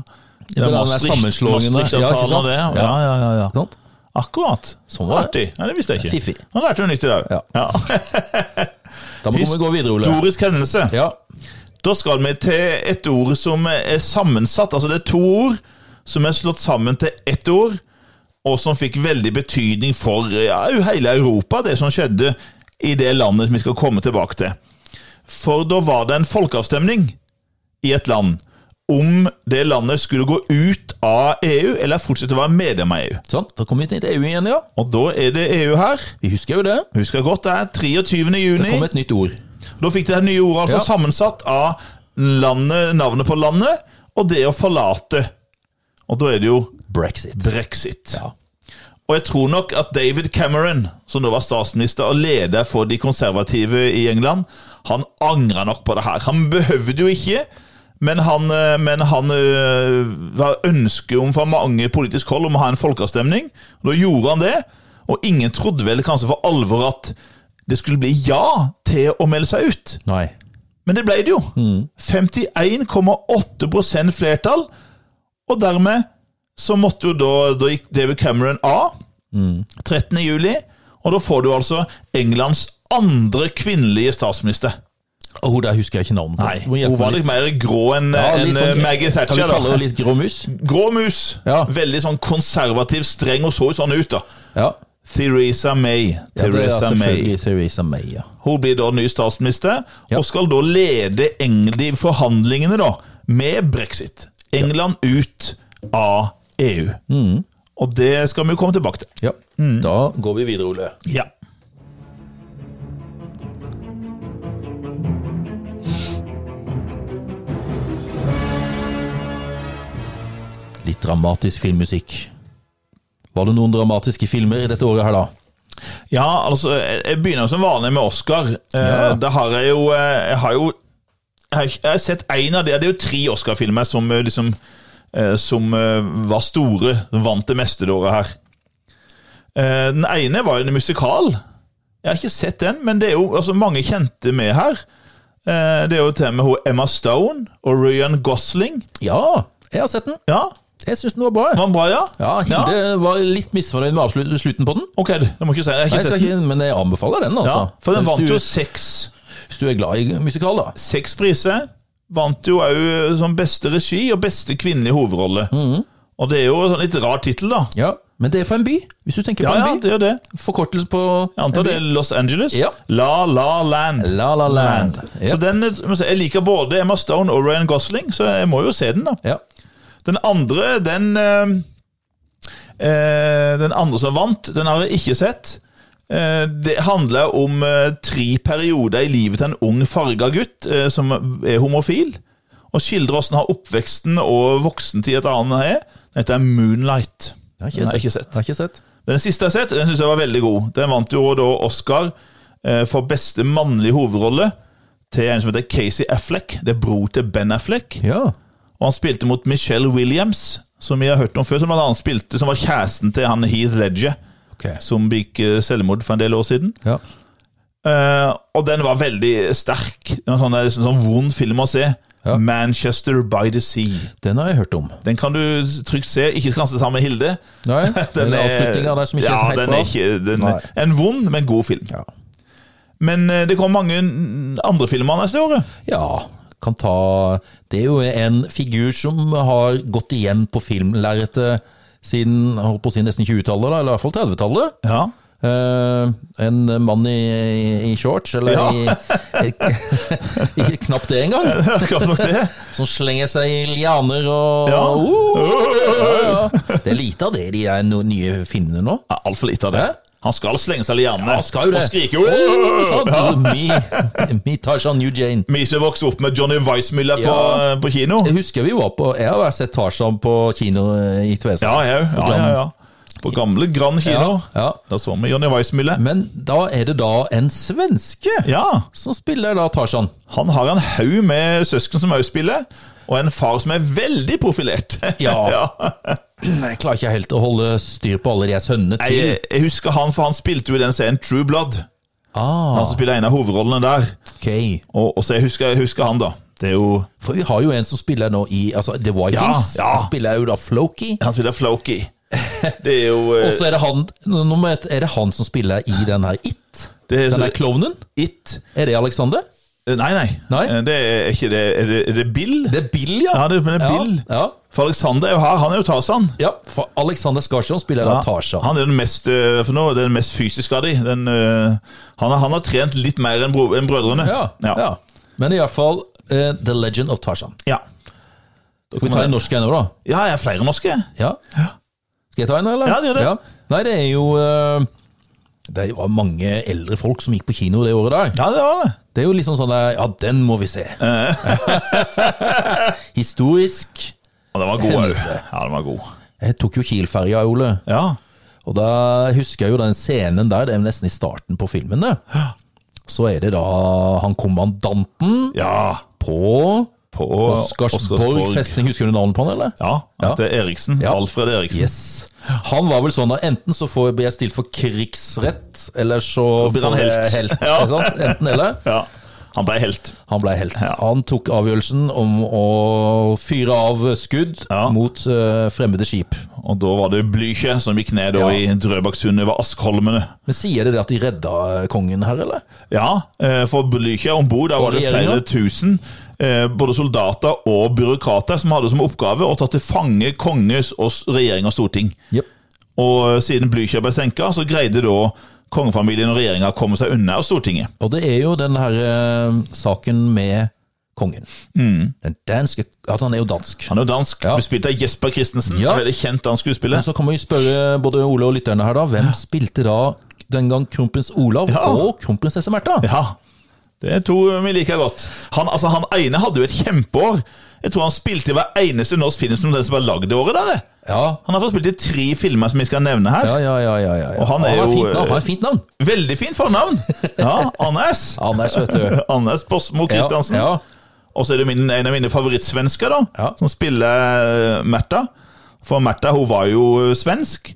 Det men den er der Maastricht- sammenslåingen der. Ja, ikke Maastricht-avtalen sant? og det. Ja, ja, ja. ja. Sant? Akkurat. Sånn var det. Artig. Nei, det visste jeg ikke. Fiffig. Nå lærte du noe nytt i dag. Ja. Ja. Da må vi gå videre, Ole. Historisk hendelse. Ja. Da skal vi til et ord som er sammensatt. Altså det er to ord som er slått sammen til ett ord, og som fikk veldig betydning for ja, hele Europa, det som skjedde i det landet som vi skal komme tilbake til. For da var det en folkeavstemning i et land om det landet skulle gå ut av EU, eller fortsette å være medlem av EU. Sånn, da kom vi til EU igjen, ja. Og da er det EU her. Vi husker jo det. Husker godt det er 23. juni. Det kom et nytt ord. Da fikk det her nye ordet altså Ja. sammensatt av landet, navnet på landet og det å forlate. Og da er det jo Brexit. brexit. Og jeg tror nok at David Cameron, som da var statsminister og leder for de konservative i England, han angra nok på det her. Han behøvde jo ikke, men han, eh, men han eh, var ønske om fra mange politisk hold om å ha en folkeavstemning. Og da gjorde han det, og ingen trodde vel kanskje for alvor at det skulle bli ja til å melde seg ut. Nei. Men det ble det jo. Mm. 51,8 flertall. Og dermed så måtte jo da, da gikk David Cameron av Mm. 13. juli. Og da får du altså Englands andre kvinnelige statsminister. Og hun der husker jeg ikke navnet på. Nei, Du må hjelpe Hun var meg litt mer grå enn Ja, litt enn, sånn- eh, Kan vi Maggie Thatcher. kalle da. henne litt grå mus? Grå mus. Ja. Veldig sånn konservativ, streng, og så jo sånn ut, da. Ja. Theresa May. Ja, det er Theresa May. selvfølgelig Theresa May, ja. Hun blir da ny statsminister, Ja. og skal da lede Engl- de forhandlingene da, med brexit. England ut av EU. Og det skal vi jo komme tilbake til. ja. Da går vi videre, Ole. Ja. Litt dramatisk filmmusikk. Var det noen dramatiske filmer i dette året her, da? Ja, altså, jeg jeg begynner som vanlig med Oscar. Ja. Eh, da har jeg jo eh, Jeg har jo jeg har ikke- jeg har sett én av de, det er jo tre Oscar-filmer som eh, liksom eh, som eh, var store, vant det meste det året her. Eh, den ene var en musikal. Jeg har ikke sett den, men det er jo altså, mange kjente med her. Eh, det er jo til og med hun Emma Stone og Ryan Gosling. Ja, jeg har sett den. Ja, Jeg syns den var bra. jeg. var den bra, ja? Ja, Hilde var litt misfornøyd med avslut- slutten på den. Ok, du må ikke si det. Nei, Jeg har ikke jeg skal sett den. ikke, men jeg anbefaler den, Ja, altså. for den vant hvis, jo du, seks, hvis du er glad i musikal, da. seks priser. Vant jo òg som beste regi og beste kvinnelige hovedrolle. Mhm. Og det er jo en sånn litt rar tittel, da. Ja, Men det er for en by, hvis du tenker Ja, på ja, en by. det er jo det. Forkortelse på Jeg antar det er Los Angeles. Ja. La La Land. La La Land. Så Ja. den, Jeg liker både Emma Stone og Ryan Gosling, så jeg må jo se den. da. ja. Den andre, den eh, eh, Den andre som vant, den har jeg ikke sett. Eh, det handler om eh, tre perioder i livet til en ung farga gutt eh, som er homofil. Og skildrer åssen har oppveksten og voksentid et annet er. Den heter Moonlight. Jeg har Den ikke sett. Jeg har ikke sett. Den siste jeg har sett, den syns jeg var veldig god. Den vant jo da Oscar eh, for beste mannlige hovedrolle til en som heter Casey Affleck. Det er bror til Ben Affleck. Ja. Og han spilte mot Michelle Williams, som vi har hørt om før, som blant annet spilte, som var kjæresten til han Heath Ledger, Ok. som begikk eh, selvmord for en del år siden. Ja. Eh, og den var veldig sterk. Det var sånn, det er liksom sånn vond film å se. Ja. Manchester by the Sea. Den har jeg hørt om. Den kan du trygt se, ikke kanskje sammen med Hilde. Nei, den er avslutninga der som ikke er ja, så helt den bra. er ikke, den, Nei. en vond, men god film. Men eh, det kom mange n- andre filmer neste året. Ja, kan ta Det er jo en figur som har gått igjen på filmlerretet siden jeg holdt på å si nesten 20-tallet, da, eller i hvert fall 30-tallet. Ja. Eh, en mann i, i shorts, eller Ja. i, i Knapt det engang. Klart nok det. Som slenger seg i lianer og Ja. ja, ja. Det er lite av det i de er no, nye filmene nå. Ja, Altfor lite av det. Hæ? Han skal slenge seg liane Ja, skal jo det. og skrike jo Sånn, Me, me Tarzan New Jane. Vi som vokste opp med Johnny Weissmuller på, Ja. på kino. Jeg husker vi var på Jeg har vært sett Tarzan på kino eh, i Tvesa. Ja, jeg òg. Ja, ja, ja. På gamle Grand kino. Ja, ja. Da så vi Johnny Weissmuller. Men da er det da en svenske Ja, som spiller da Tarzan. han har en haug med søsken som òg spiller, og en far som er veldig profilert. Ja. Jeg klarer ikke helt å holde styr på alle de her sønnene Nei, eh. til. altså, Jeg, jeg husker han, for han spilte jo i den serien True Blood. Ah, Han som spiller en av hovedrollene der. ok. Og, og så jeg husker, jeg husker han, da. Det er jo For vi har jo en som spiller nå i altså, The Vikings. Ja, ja. Han spiller jo da Floki. Han spiller Floki. Det er jo Og eh, så er det han nummer ett, Er det han som spiller i den her It? det er, Den så, her klovnen? It. Er det Alexander? Eh, Nei, nei. Nei? Eh, Det er ikke det. Er det, er det Bill? Det er Bill, ja. Ja, det, men det er Bill. Ja, For Alexander er jo her. Han er jo Tarzan. ja. ja for Alexander Skarsjån spiller da Tarzan. Han er den mest, eh, for nå, den mest fysiske av de. Den, eh, han, har- han har trent litt mer enn, bro, enn brødrene. Ja, ja. ja. Men i hvert fall eh, The Legend of Tarzan. Ja. Skal vi ta en norsk en òg, da? Ja, jeg er flere norske. Ja. Skal jeg ta en, eller? Ja, gjør det. Nei, det er jo eh, Det var mange eldre folk som gikk på kino det året der. Ja, det var det. Det er jo liksom sånn der Ja, den må vi se. Eh. Historisk. Og den var god Hendelse. også. Ja, den var god. Jeg tok jo Kiel-ferja, Ole. Ja. Og da husker jeg jo den scenen der, det er jo nesten i starten på filmen, det. Så er det da han kommandanten ja. på På Oscarsborg festning. Husker du navnet på han, eller? Ja, at det er Eriksen. Ja. Alfred Eriksen. Yes. Han var vel sånn da, enten så får, blir jeg stilt for krigsrett, eller så blir han får jeg helt. helt Ja. ikke sant? Enten eller. Ja. Han ble helt. Han ble helt. Han tok avgjørelsen om å fyre av skudd Ja. mot eh, fremmede skip. Og da var det Blücher som gikk ned da, Ja. i Drøbaksundet over Askholmene. Men sier det det at de redda eh, kongen her, eller? Ja, eh, for Blücher om bord, der var det flere regjeringen? tusen. eh, Både soldater og byråkrater som hadde som oppgave å ta til fange konges og s- regjering og storting. Yep. Og eh, siden Blücher ble senka, så greide da kongefamilien og regjeringa å komme seg unna av Stortinget. Og det er jo den her eh, saken med kongen. Mm. Den danske At han er jo dansk. Han er jo dansk, Ja. ble spilt av Jesper Christensen. Ja. Veldig kjent dansk skuespiller. Så kan man jo spørre både Ole og lytterne her, da. Hvem spilte da den gang kronprins Olav Ja. og kronprinsesse Märtha? Ja, det er to eh, vi liker godt. Han, altså, han ene hadde jo et kjempeår. Jeg tror han spilte i hver eneste norsk film som den som var lagd det året der. jeg. Ja, Han har fått spilt i tre filmer som vi skal nevne her. ja, ja. ja, ja, ja. Og han er har jo, eh, fint navn. Han har fint navn. Veldig fint fornavn! Ja, Anders. Anders, vet du. Anders Bosmo Christiansen. Ja, ja. Og så er det min, en av mine favorittsvensker, da, Ja. som spiller eh, Märtha. For Märtha hun var jo eh, svensk,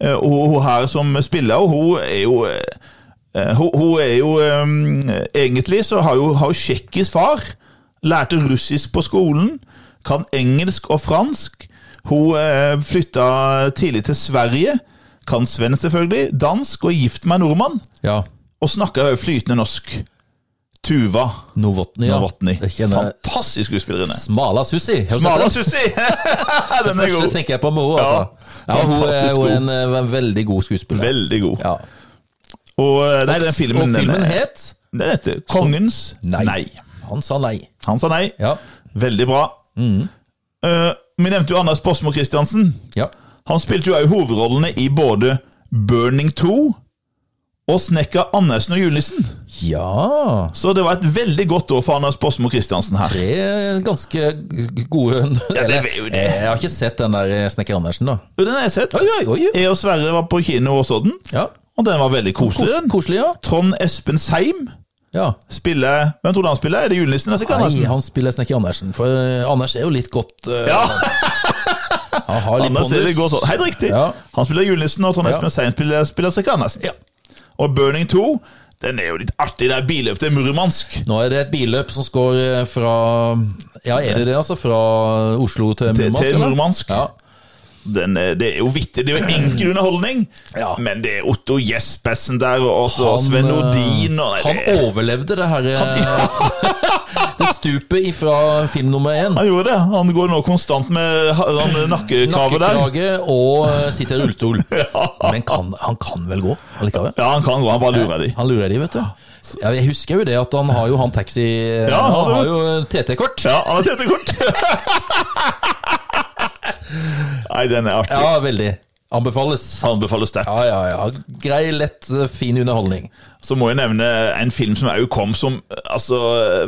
eh, og hun- hun her som spiller, og hun er jo eh, hun, hun er jo eh, Egentlig så har jo, har jo tsjekkisk far. Lærte russisk på skolen. Kan engelsk og fransk. Hun eh, flytta tidlig til Sverige. Kan svensk, selvfølgelig. Dansk, og er gift med en nordmann. Ja. Og snakker jo flytende norsk. Tuva. Novotny. Ja. Novotny. Jeg kjenner Fantastisk skuespillerinne. Smala Sussi. Har du sett Smala den? Sussi! Den er Første god. tenker jeg på med henne, altså. Ja, Ja, hun er fantastisk jo god. en, eh, en veldig god skuespiller. Veldig god. Ja. Og eh, nei, den filmen, Og filmen den, het den heter Kongens Nei. nei. Han sa nei. Han sa nei. Ja. Mm. Veldig bra. Eh, vi nevnte jo Anders Bosmo Christiansen. ja. Han spilte jo også hovedrollene i både Burning 2 og Snekker Andersen og Julenissen. Ja Så det var et veldig godt år for Anders Bosmo Christiansen her. Tre ganske gode Ja, det Eller, eh, er jo det. Jeg har ikke sett den der eh, Snekker Andersen, da. Jo, Den har jeg sett. Oi, oi, oi. Jeg og Sverre var på kino og så den, Ja. og den var veldig koselig. Kos, den. koselig, ja. Trond Espen Seim ja. spiller Hvem tror du han spiller? Er det julenissen? eller Sikkert Nei, Andersen? han spiller Snekker Andersen, for eh, Anders er jo litt godt eh, Ja, Han har litt Anders er det går sånn. Helt riktig. Ja. Han spiller julenissen, og Trond Ja. Espen Seim spiller, spiller Sikkert Andersen. Ja. Og Burning 2, den er jo litt artig. Det er billøp til Murmansk. Nå er det et billøp som går eh, fra Ja, er det det, altså? Fra Oslo til Til- Murmansk? til eller? Murmansk. Ja. Den er, det er jo vittig. Det er jo enkel underholdning. Ja. Men det er Otto Jespersen der, og også Han, Sven eh, Nordin og nei, Han det, overlevde det her eh, Det stupet ifra film nummer én. han gjorde det. Han går nå konstant med ha- han nakkekravet der. Nakkekrage og eh, sitter i rullestol. Men kan, han kan vel gå allikevel? Ja, han kan gå. Han bare lurer de. Han lurer de, vet du. Ja, jeg husker jo det at han har jo han taxi eh, Ja, Han han har har det. jo TT-kort. Ja, han har TT-kort. Nei, den er artig. Ja, veldig. Anbefales. Anbefales sterkt. Ja, ja, ja. Grei, lett, eh, fin underholdning. Så må jeg nevne en film som òg kom som Altså,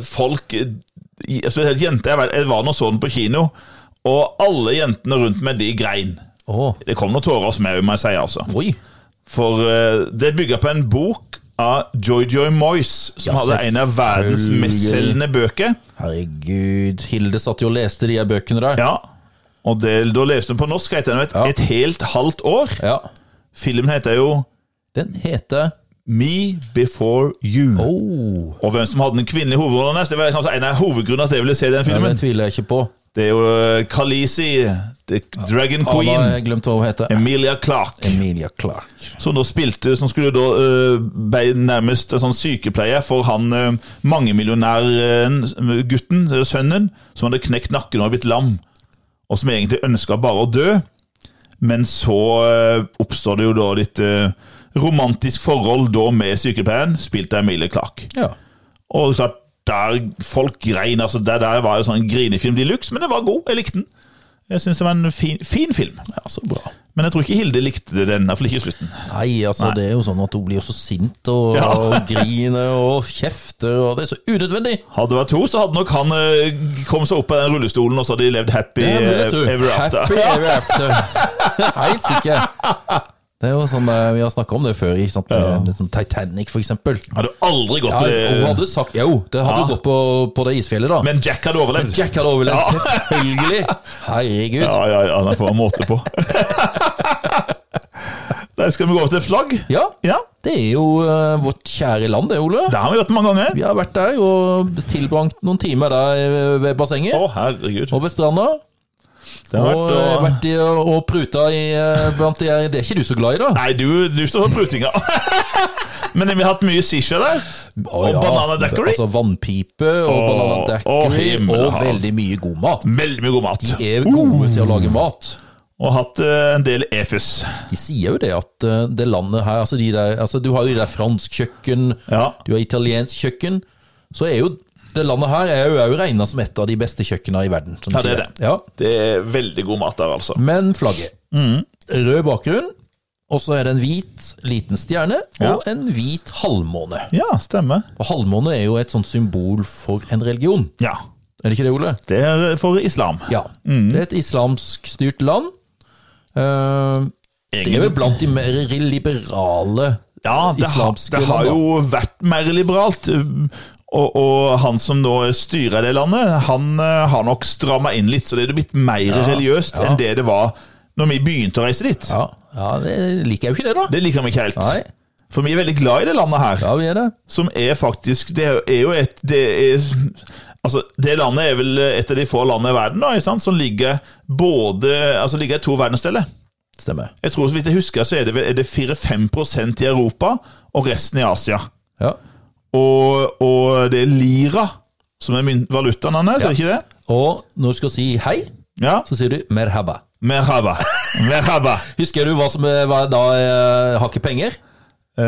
folk eh, Spesielt jenter. jeg vet- Jeg var nå og så den på kino, og alle jentene rundt meg, de grein. Å, Det kom noen tårer hos meg òg, må jeg si, altså. oi. For eh, det bygger på en bok av Joy-Joy Moyes, som Ja, hadde en av verdens selvfølgelig. mestselgende bøker. Herregud. Hilde satt jo og leste de her bøkene der. Ja. Og det, da leste hun på norsk etter et, Ja. et helt halvt år. Ja. Filmen heter jo Den heter Me Before You. Oh. Og hvem som hadde den kvinnelige hovedrollen hennes, det var kanskje en av hovedgrunnene til at jeg ville se den Ja, filmen. den tviler jeg ikke på. Det er jo Kalisi, Dragon Ah, da har Queen, jeg glemt hva hun heter. Emilia Clarke, Emilia Clark. som da spilte Som skulle da eh, bli nærmest en sånn sykepleier for han uh, mangemillionærgutten, uh, sønnen, som hadde knekt nakken og blitt lam, og som egentlig ønska bare å dø. Men så eh, oppstår det jo da litt eh, romantisk forhold da med sykepleieren, spilt av Emilie Clarke. Ja. Og klart, der folk grein, altså det der var jo sånn grinefilm de luxe, men den var god, jeg likte den. Jeg synes det var en fin, fin film, ja, så bra. men jeg tror ikke Hilde likte den, i hvert fall ikke i slutten. Nei, altså det er jo sånn at hun blir jo så sint og, Ja. og griner og kjefter, og det er så unødvendig! Hadde det vært to, så hadde nok han eh, kommet seg opp av den rullestolen, og så hadde de levd happy Det vil jeg tro. eh, ever after. Happy ever after. Helt sikker. Det er jo sånn eh, Vi har snakka om det før, ikke sant? Med, med sånn Titanic, for eksempel. Hadde aldri gått Ja, hun eh, hadde sagt Jo, det hadde Ja. gått på, på det isfjellet, da. Men Jack hadde overlevd. Jack hadde overlevd, selvfølgelig! Herregud. Ja, ja, ja, den får han måte på. Der skal vi gå over til flagg. Ja, Ja, det er jo eh, vårt kjære land, det, Ole. det har vi gjort mange ganger. Vi har vært der og tilbrakt noen timer der eh, ved bassenget Å, herregud. og ved stranda. Det har Og vært, eh, og... vært i, og pruta i eh, blant de her. Det er ikke du så glad i, da? Nei, du, du står for prutinga. Men vi har hatt mye sisha der. Å, og Banana Daiquiri. Altså vannpipe og Å, banana daiquiri å, himmel og og hav. veldig mye god mat. Veldig mye god mat. De er gode til å lage mat. Og hatt eh, en del efus. De sier jo det at eh, det landet her altså, de der, altså Du har jo de der fransk kjøkken, Ja. du har italiensk kjøkken. Så er jo det landet her er jo, er jo regna som et av de beste kjøkkenene i verden. Som de Ja, det er sier. det. Ja. Mm. Det er veldig god mat der, altså. Men flagget. Rød bakgrunn, og så er det en hvit liten stjerne Ja. og en hvit halvmåne. Ja, stemmer. Og halvmåne er jo et sånt symbol for en religion. Ja. Er det ikke det, Ole? Det er for islam. Ja. Det er et islamsk styrt land. Eh, det er vel blant de mer liberale Ja, det har, islamske det har land, da. jo vært mer liberalt. um, Og, og han som nå styrer det landet, han eh, har nok stramma inn litt, så det er blitt mer religiøst enn det det var når vi begynte å reise dit. Ja, ja det liker jeg jo ikke det, da. Det liker vi ikke helt. Nei. For vi er veldig glad i det landet her, Ja, vi er det. som er faktisk Det er jo et Det er Altså, det landet er vel et av de få landene i verden da, ikke sant? som ligger både Altså ligger i to verdensdeler. Stemmer. Jeg tror, så vidt jeg husker, så er det, vel- er det 4-5 i Europa, og resten i Asia. Ja. Og, og det er lira som er mynt- valutaen hans, er det ikke det? Og når du skal si hei, Ja. så sier du merhaba. Merhaba. Merhaba. Husker du hva som eh, var da eh, har ikke penger? Eh,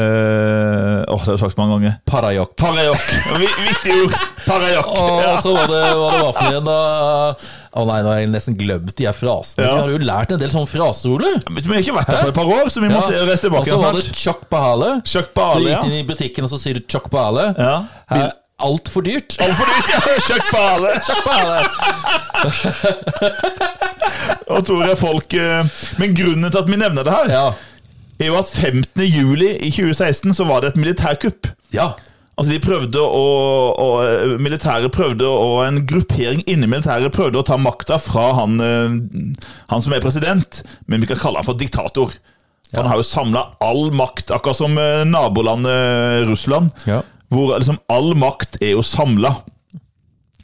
Åh, det har jeg sagt mange ganger. Parajok. Parajok. Vi- Viktig ord. Parajok. Og så var det hva det var for en da eh, Å nei, nå har jeg nesten glemt de her frasene. Ja. Vi har jo lært en del sånne fraser, Ole. Men vi har ikke vært der for et par år, så vi må Ja. se- reise Og tilbake så igjen var det snart. chok bahale. Du Chuck Bale, ja. gikk inn i butikken, og så sier du chok bahale. ja. Her er Altfor dyrt. Altfor dyrt, ja. Chuck Bale. Chok bahale. Og tror jeg folk eh, Men grunnen til at vi nevner det her, Ja. er jo at 15. juli i 2016 så var det et militærkupp. ja. Altså de prøvde å, å eh, Militæret prøvde å og En gruppering inni militæret prøvde å ta makta fra han, eh, han som er president, men vi kan kalle han for diktator. For Han har jo samla all makt, akkurat som eh, nabolandet Russland. Ja. Hvor liksom all makt er jo samla.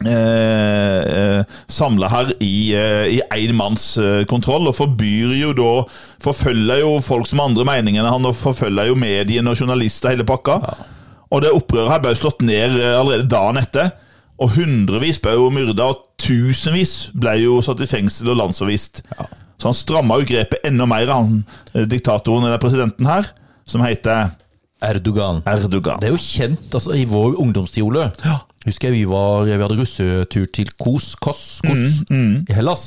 Eh, samla her i, eh, i én manns eh, kontroll, og forbyr jo da Forfølger jo folk som har andre meninger enn han, og forfølger jo mediene og journalister hele pakka. Og det opprøret her ble jo slått ned eh, allerede dagen etter. Og hundrevis ble jo myrda, og tusenvis ble jo satt i fengsel og landsforvist. Så han stramma jo grepet enda mer, han eh, diktatoren eller presidenten her, som heter Erdogan. Erdogan. Det er jo kjent altså, i vår ungdomstid, Ole. Husker jeg vi, var, vi hadde russetur til Kos, Kos, Mm, Kos i Hellas.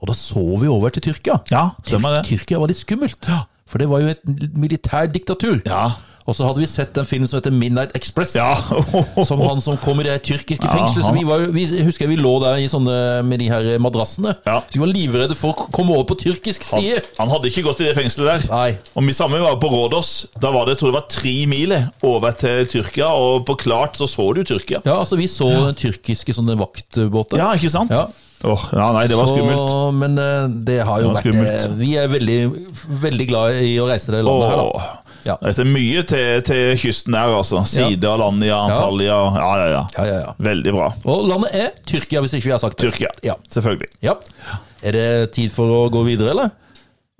Og da så vi over til Tyrkia. Ja, stemmer det. Tyrkia var litt skummelt. For det var jo et militært diktatur. Ja. Og så hadde vi sett en film som heter Midnight Express. Ja. Som han som kommer i det tyrkiske Ja, fengselet. Så han- vi, var, jo- vi jeg husker vi lå der i sånne, med de her madrassene. Ja. Så vi var livredde for å komme over på tyrkisk side. Han hadde ikke gått i det fengselet der. Nei. Og vi sammen var på Rådås. Da var det, jeg tror det var tre mil eh, over til Tyrkia, og på klart så så du Tyrkia. Ja, altså vi så den tyrkiske sånne vaktbåten. Ja, ikke sant? Ja. Åh, ja, nei, det var Så- skummelt. Men eh, det har jo Det var vært skummelt. eh, Vi er veldig, veldig glad i å reise det landet her, da. Åh. Ja. Det er mye til, til kysten der, altså. Side av landet, ja, Antalya ja. ja, ja, Ja, ja, ja. Veldig bra. Og landet er Tyrkia, hvis ikke vi har sagt det. Tyrkia. Ja. Selvfølgelig. Ja. Er det tid for å gå videre, eller?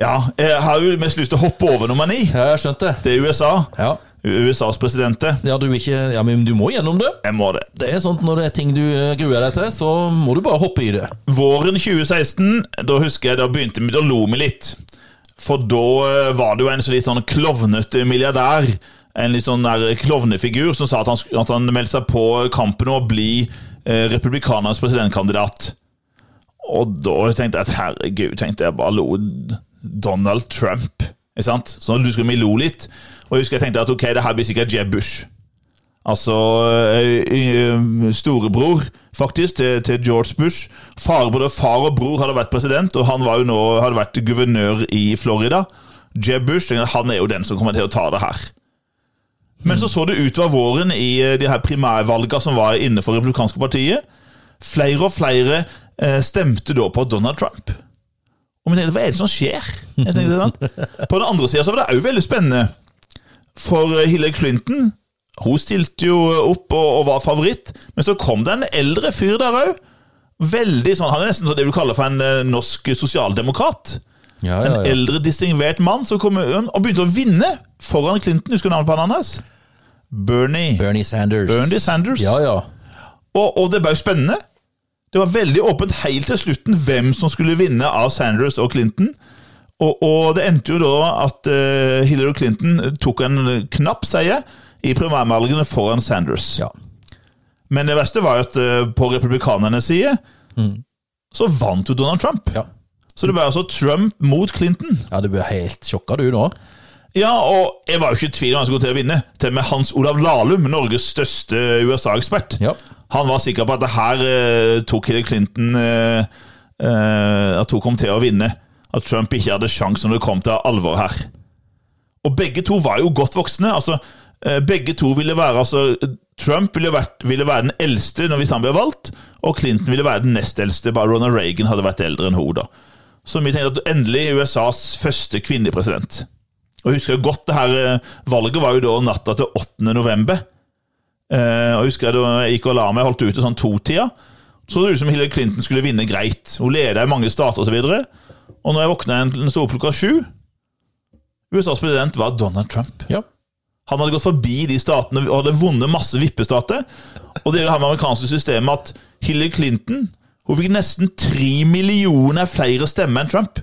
Ja, eh, jeg har jo mest lyst til å hoppe over nummer ni. Ja, jeg skjønte det. Det er USA. Ja. USAs president. det. Ja, du vil ikke, ja, men du må gjennom det. Jeg må det. Det er sånt Når det er ting du eh, gruer deg til, så må du bare hoppe i det. Våren 2016, da husker jeg da begynte vi, da lo vi litt. For da eh, var det jo en sånn litt sånn klovnete milliardær, en litt sånn der klovnefigur, som sa at han, sk- at han meldte seg på kampen om å bli eh, republikanernes presidentkandidat. Og da tenkte jeg at herregud, tenkte jeg bare lo Donald Trump. Ikke sant? Så du husker vi lo litt. Og jeg husker jeg tenkte at ok, det her blir sikkert Jeb Bush. Altså ø, ø, storebror, faktisk, til, til George Bush. Far, både far og bror hadde vært president, og han var jo nå, hadde vært guvernør i Florida. Jeb Bush tenkte, han er jo den som kommer til å ta det her. Men så så det utover våren i ø, de her primærvalga som var inne for republikanske partiet. Flere og flere ø, stemte da på Donald Trump. Og vi tenkte, hva er det som skjer? Jeg tenkte, sant? På den andre sida var det òg veldig spennende. For ø, Hillary Clinton hun stilte jo opp og, og var favoritt, men så kom det en eldre fyr der òg. Veldig sånn, Han er nesten sånn det du kaller for en eh, norsk sosialdemokrat. Ja, En eldre, distingvert mann som kom inn og begynte å vinne foran Clinton. Husker du navnet på han hans? Bernie. Bernie Sanders. Bernie Sanders. Ja, ja. Og, og det ble jo spennende. Det var veldig åpent helt til slutten hvem som skulle vinne av Sanders og Clinton. Og, og det endte jo da at eh, Hillary Clinton tok en knapp seier i primærvalgene foran Sanders. ja. Men det verste var jo at eh, på republikanernes side Mm. så vant jo Donald Trump. Ja. Så det var altså Trump mot Clinton. ja du blir helt sjokka, du nå. Ja, og jeg var jo ikke i tvil om han skulle til å vinne. Til og med Hans Olav Lahlum, Norges største USA-ekspert, Ja. han var sikker på at det her eh, tok Hillary Clinton eh, eh, At hun kom til å vinne. At Trump ikke hadde sjans når det kom til alvor her. Og begge to var jo godt voksne. altså eh, Begge to ville være altså Trump ville, vært, ville være den eldste når hvis han ble valgt, og Clinton ville være den nest eldste, bare Ronald Reagan hadde vært eldre enn hun da. Så vi tenkte at endelig USAs første kvinnelige president. Og jeg husker jo godt det her eh, valget var jo da natta til 8. november. Eh, og jeg husker da jeg gikk og la meg, holdt ute sånn to-tida. Så det ut som Hillary Clinton skulle vinne greit. Hun leda i mange stater osv. Og, så videre. og når jeg våkna igjen, den sto opp klokka sju USAs president var Donald Trump. Ja. Han hadde gått forbi de statene og hadde vunnet masse vippestater. Og det er det her med amerikanske systemet at Hillary Clinton hun fikk nesten tre millioner flere stemmer enn Trump.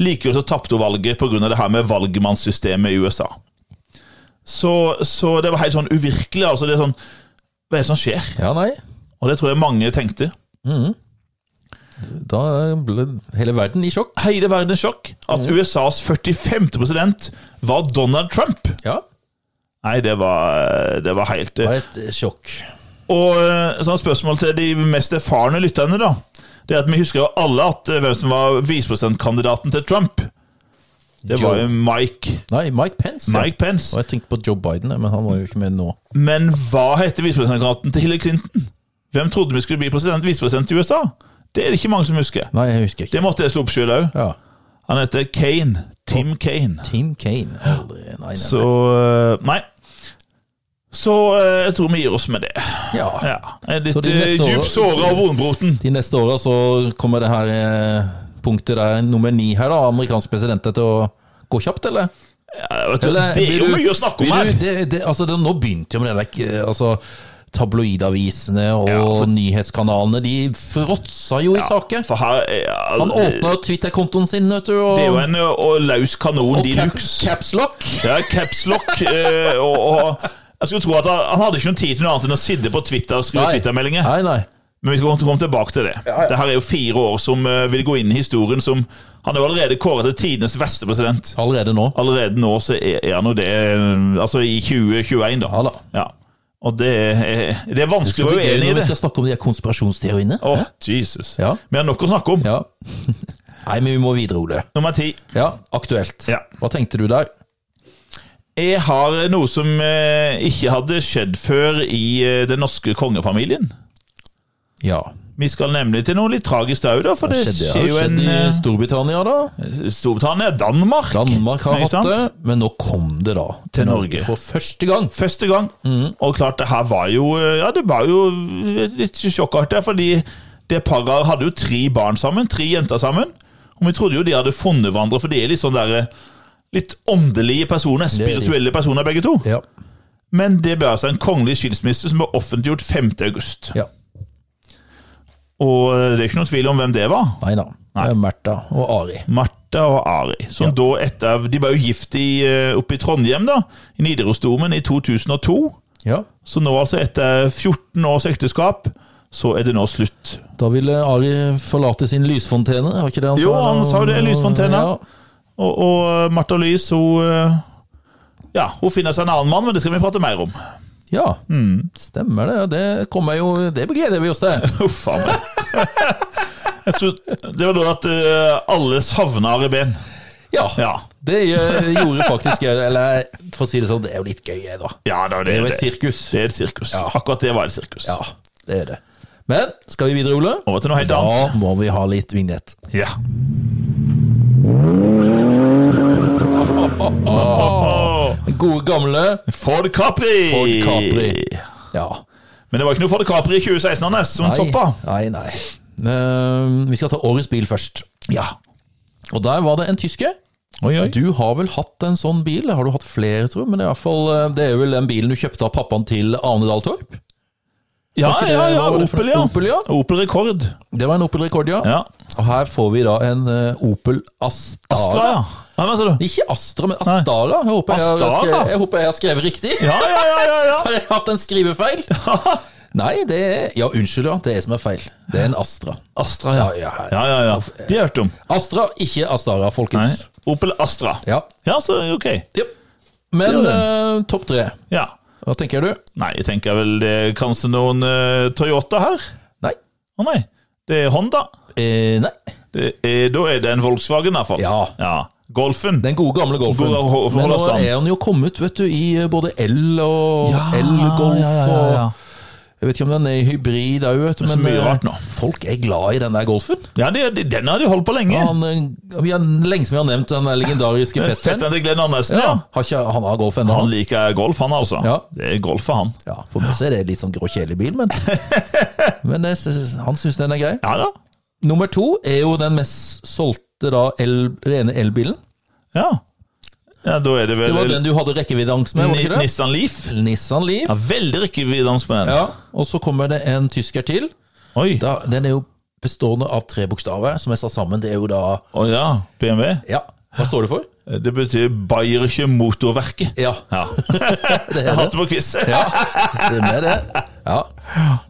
Likevel så tapte hun valget pga. det her med valgmannssystemet i USA. Så, så det var helt sånn uvirkelig. altså det er sånn, Hva er det som skjer? ja, nei. Og det tror jeg mange tenkte. Da ble hele verden i sjokk. Hele verden er sjokk at USAs 45. president var Donald Trump. Ja, Nei, det var, det var helt eh, det var et sjokk. Og eh, sånn spørsmål til de mest erfarne lytterne, da. Det er at Vi husker jo alle at eh, hvem som var visepresidentkandidaten til Trump. Det Joe- var jo Mike, Nei, Mike Pence. ja. Mike Pence. Og jeg tenkte på Joe Biden, men han var jo ikke med nå. Men hva heter visepresidentkandidaten til Hillary Clinton? Hvem trodde vi skulle bli president, visepresident i USA? Det er det ikke mange som husker. Nei, jeg husker ikke. Det måtte jeg slå opp sjøl òg. Ja. Han heter Kane. Tim Kane. Team Kane. Aldri. Nei, nei, nei. Så eh, Nei. Så eh, jeg tror vi gir oss med det. ja. Ja. Jeg er Så Litt de neste eh, åra- dypt såra av vonbroten. De neste åra så kommer det her eh, punktet der, nummer ni her, da. Amerikanske presidenter til å gå kjapt, eller? Ja, vet du, Eller, det er jo vil du- mye å snakke om vil her! du- det, det, altså, det, nå begynte jo med det der eh, altså, Tabloidavisene og Ja, altså- for- nyhetskanalene, de fråtsa jo i saker. For her ja, Han åpna Twitter-kontoen sin, vet du, og, Det er jo en ø, og løs kanon de luxe. capslock. Ja, capslock. eh, og, og jeg skulle tro at han, han hadde ikke noen tid til noe annet enn å sitte på Twitter og skrive Twitter-meldinger. Nei, nei. Men vi skal komme- komme tilbake til det. Det her er jo fire år som eh, vil gå inn i historien som Han er jo allerede kåret til tidenes verste president. Allerede nå. Allerede nå så er er han jo det eh, Altså i 2021, da. Ja da. Ja. Og det er, eh, det er vanskelig Skal å vi, være uenig i når vi det. skal snakke om de her konspirasjonsteoriene? Å, Jesus. Ja. Vi har nok å snakke om. Ja. Nei, men vi må videre, Ole. Nummer ti. Ja, aktuelt. Ja. Hva tenkte du der? Jeg har noe som eh, ikke hadde skjedd før i eh, den norske kongefamilien. Ja. Vi skal nemlig til noe litt tragisk òg, da. For Det det, skjedde, skjer det jo har en skjedd i eh, Storbritannia, da. Storbritannia, Danmark. Danmark har Ikke sant? hatt det, men nå kom det da til Norge. for første gang. Første gang. Mm. Og klart, det her var jo eh, Ja, det var jo eh, litt sjokkartet, fordi det paret hadde jo tre barn sammen. Tre jenter sammen. Og vi trodde jo de hadde funnet hverandre, for de er litt sånn der eh, Litt åndelige personer. er de. Spirituelle personer, begge to. Ja. Men det ble altså en kongelig skilsmisse som ble offentliggjort 5. august. ja. Og det er ikke noen tvil om hvem det var. Nei da. Det er Märtha og Ari. Martha og Ari. Som da etter, de var jo gift i, eh, oppe i Trondheim, da, i Nidarosdomen, i 2002. Ja. Så nå altså, etter 14 års ekteskap, så er det nå slutt. Da ville Ari forlate sin lysfontene, var ikke det han sa? Jo, han sa jo det, lysfontene. Ja. Og, og Martha Louise, hun eh, Ja, hun finner seg en annen mann, men det skal vi prate mer om. ja. Mm. Stemmer det. Det kommer jo Det gleder vi oss til. Huff a meg. Jeg tror, det var da at eh, alle savna Ari Behn. Ja. Ja. Det eh, gjorde faktisk jeg. Eller for å si det sånn, det er jo litt gøy, jeg, da. ja, da, Det det er jo er et det. sirkus. Det er et sirkus. Akkurat det var et sirkus. Ja, det er det. Men skal vi videre, Ole? Over til noe helt Da annet. må vi ha litt vignett. Ja. Gode gamle Ford Capri! Ford Capri. Ja. Men det var ikke noe Ford Capri i 2016 hans, som toppa. nei. nei. Eh, vi skal ta årets bil først. Ja. Og der var det en tysker. Oi, oi. Du har vel hatt en sånn bil? Har du hatt flere, tror jeg? Men det er, i hvert fall, eh, det er vel den bilen du kjøpte av pappaen til Arne Dahl Torp? ja, Var ikke det- ja, ja. hva var det for- Opel, ja. Opel, ja. Opel Rekord. Det var en Opel Rekord, ja. Ja. Og her får vi da en eh, Opel Astara. Astra, ja. Hva hva sa du? Ikke Astra, men Astara. Jeg håper jeg, har Astara? skrevet- jeg, håper jeg har skrevet riktig. Ja, ja, ja, ja, ja. Har jeg hatt en skrivefeil? Nei, det er Ja, unnskyld, ja. Det er jeg som er feil. Det er en Astra. Astra, ja. Ja, Ja, ja, ja, ja. De har jeg hørt om. Astra, ikke Astara, Nei. folkens. Opel Astra. Ja. Ja, så ok. Jep. Men Det var eh, topp tre. Ja. Hva tenker du? Nei, jeg tenker vel det er kanskje noen eh, Toyota her. Nei. Å nei. Det er Honda. Eh, nei. Det er, da er det en Volkswagen, i hvert fall. Ja. ja. Golfen. Den gode gamle golfen. Gode ho- Men nå holderstand. er han jo kommet vet du, i eh, både L og L-golf. og Jeg vet ikke om den er i hybrid òg, vet du. så Men mye eh, rart nå. folk er glad i den der golfen. Ja, det, det, den har de holdt på lenge. Ja, Han, eh, vi har lenge siden vi har nevnt den der legendariske fetteren. Fetteren til Glenn Andersen, ja. Ja, har ikke, han har golf ennå. Han liker golf, han altså. Ja. Det er golf for han. Ja, for meg så er det litt sånn grå kjelebil, men, men jeg synes, han syns den er grei. Ja da. Nummer to er jo den mest solgte da el, rene elbilen. Ja. ja, da er Det det vel var den du hadde rekkeviddeangst med, var det ikke det? Nissan Leaf. Nissan Leaf. Ja, veldig rekkeviddeangst med den. Ja, og så kommer det en tysker til. Oi. Da, den er jo bestående av tre bokstaver som er satt sammen. Det er jo da Å ja, BMW. Ja, hva står det for? Det betyr Bayerische Motorverket. Ja, Ja. det Jeg er det. hatt det på quiz. Ja, stemmer det. Ja.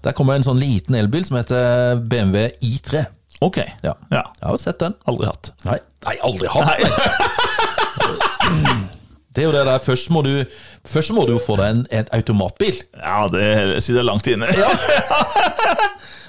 Der kommer en sånn liten elbil som heter BMW I3. Ok. Ja. Ja. Jeg har jo sett den. Aldri hatt. Nei, Nei aldri hatt. Nei. Det er jo det der, først må du, først må du jo få deg en, en automatbil. Ja, det sitter langt inne.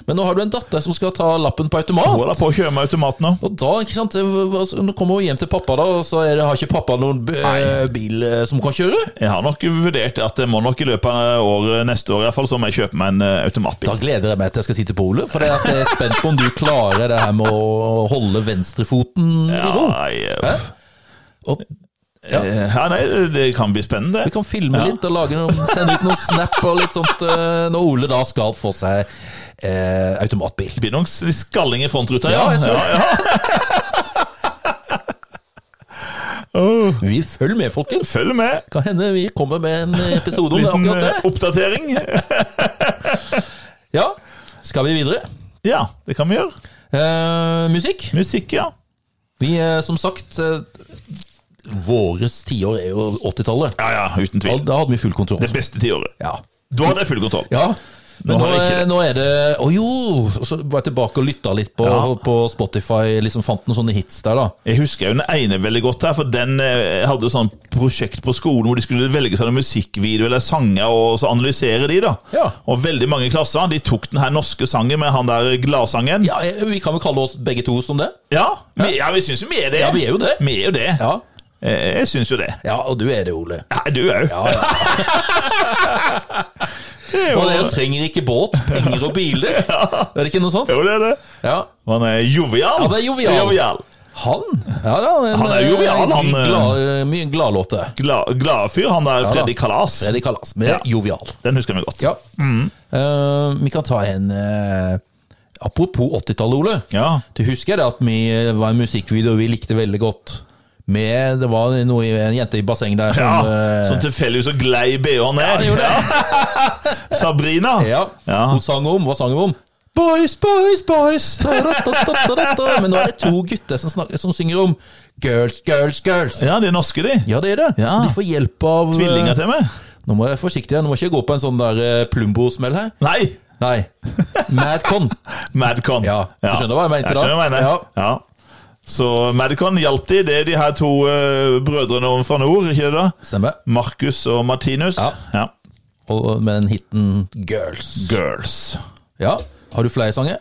Men nå har du en datter som skal ta lappen på automat. Holder på å kjøre med automat nå. Og da ikke sant, altså, nå kommer hun hjem til pappa, da, og så er det, har ikke pappa noen b- eh, bil eh, som kan kjøre. Jeg har nok vurdert at jeg må nok i løpet av året neste år i hvert fall, så må jeg kjøpe meg en eh, Da automatbil. gleder jeg meg til jeg skal sitte på Ole, for det at jeg er spent på om du klarer det her med å holde venstrefoten i Ja, ro. nei, uff. Og Ja. Eh, ja, nei, det- det kan bli spennende. vi kan filme litt og lage noen, sende ut noen snap og litt sånt eh, når Ole da skal få seg eh, automatbil. Det blir nok litt skalling i frontruta, ja. Ja, jeg tror ja, ja. Oh. Vi følger med, folkens. Følg med. Kan hende vi kommer med en episode om det, Liten akkurat det. eh, oppdatering. Ja, skal vi videre? Ja, det kan vi gjøre. Eh, musikk. Musikk, ja. Vi, eh, som sagt eh, Våres tiår er jo 80-tallet. Ja, ja, uten Da, tvil. da hadde vi full kontroll. Det beste tiåret. Ja. Da hadde jeg full kontroll. ja. Men nå, har jeg ikke er- det. nå er det Å jo! Og så var jeg tilbake og lytta litt på, Ja. på Spotify. Liksom Fant noen sånne hits der, da. Jeg husker jo den ene veldig godt her, for den eh, hadde sånn prosjekt på skolen hvor de skulle velge seg noen musikkvideo eller sanger, og så analysere de, da. Ja. Og veldig mange i klassen de tok den her norske sangen med han der gladsangen. Ja, eh, Vi kan vel kalle oss begge to som det? Ja, vi, ja, vi syns jo vi er det. Ja, vi er jo det. Vi er jo det. Ja, Eh, Jeg syns jo det. ja og du er det, Ole. Nei, du òg. Ja, ja. Og det er jo 'trenger ikke båt, penger og biler'. Er det ikke noe sånt? Jo, det er det. Ja. Han er jovial. Ja, det er jovial. Han? Ja, da, en, Han er jo jovial, eh, han, eh. Glad, eh, mye gladlåte. Glad, glad fyr, han der da. Freddy Kalas. Freddy Kalas, med Ja. jovial. Den husker vi godt. Ja. Eh, vi kan ta en eh, Apropos 80-tallet, Ole. Ja. Du husker det at vi eh, var en musikkvideo vi likte veldig godt? Med, det var noe, en jente i basseng der som Ja, eh, Som tilfeldigvis så glei bh-en ned. det gjorde Sabrina. ja. Ja. Hun sang om Hva sang hun om? Boys, boys, boys. Da-da-da-da-da-da. Men nå er det to gutter som, snakker, som synger om girls, girls, girls. Ja, Ja, de er norske, de. det er det. Ja. De får hjelp av eh, Tvillinger til meg. Nå må jeg være forsiktig, her. nå må jeg ikke gå på en sånn der eh, Plumbo-smell her. Nei, Nei. Madcon. Madcon. Ja, du skjønner hva jeg mente Jeg da. skjønner hva jeg mener. Ja. Så Madcon hjalp de. Det er de her to eh, brødrene fra nord, ikke det? da? Stemmer. Markus og Martinus. Ja. Og med den hiten Girls. Girls. Ja. Har du flere sanger?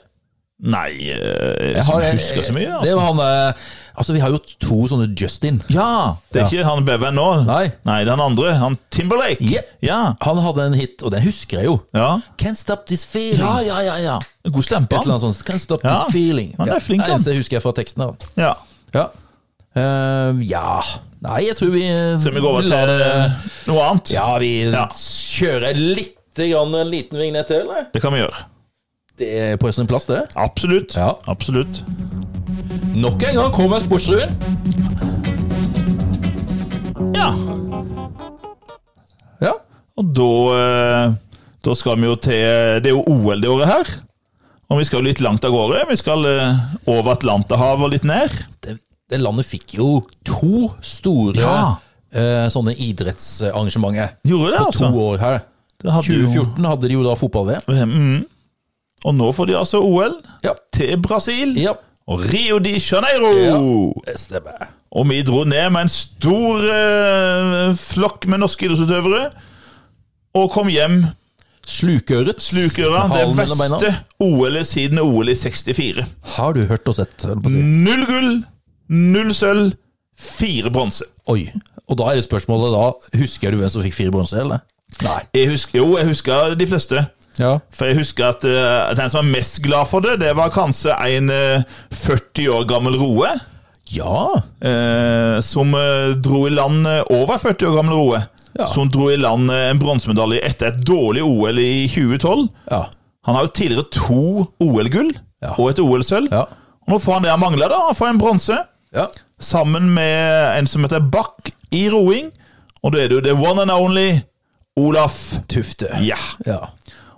Nei, eh, jeg, jeg husker så mye. Det Altså. var han eh, Altså, vi har jo to sånne Justin. Ja, det er ikke han Beven nå. Nei. Nei, det er han andre. Han Timberlake. Yep. Ja. Han hadde en hit, og den husker jeg jo. Ja. Can't stop this feeling. ja, ja, ja. ja. God Et stempe, eller han. annet sånt. Can't stop Ja, this feeling. han er flink, Det er det han. eneste jeg husker fra teksten. av. Ja. Ja. Eh, ja Nei, jeg tror vi eh, Skal vi gå over lar til det- eh, noe annet? Ja, vi Ja. kjører litt grann en liten vignett til, eller? Det kan vi gjøre. Det er på sin plass, det. Absolutt. Ja. Absolutt. Nok en gang kommer sportsrevyen. Ja. Ja. Og da, eh, da skal vi jo til Det er jo OL det året her. Og vi skal jo litt langt av gårde. Vi skal eh, over Atlanterhavet og litt ned. Det, det landet fikk jo to store Ja. eh, sånne idrettsarrangementer. Gjorde det, altså. To år her. Det hadde jo- 2014 hadde de jo da fotball-VM. Mm. Og nå får de altså OL Ja. til Brasil ja. og Rio de Janeiro. Det stemmer. Og vi dro ned med en stor eh, flokk med norske idrettsutøvere. Og kom hjem Slukøret. slukøra. Det Halen mellom beina. verste OL-et siden OL i 64. Mm. Har du hørt og sett? holdt på å si? Null gull, null sølv, Fire bronse. Oi. Og da er det spørsmålet da Husker du hvem som fikk fire bronse, eller? Nei. Jeg husker, jo, jeg husker de fleste. Ja. For jeg husker at eh, den som var mest glad for det, det var kanskje en eh, 40 år gammel roe. Ja. eh, som eh, dro i land eh, over 40 år gammel roe. Ja. Som dro i land eh, en bronsemedalje etter et dårlig OL i 2012. Ja. Han har jo tidligere to OL-gull Ja. og et OL-sølv. Ja. Og nå får han det han mangler, da. Han får en bronse. ja. sammen med en som heter Bach i roing. Og da er det jo the one and only Olaf. Tufte. Ja. Ja.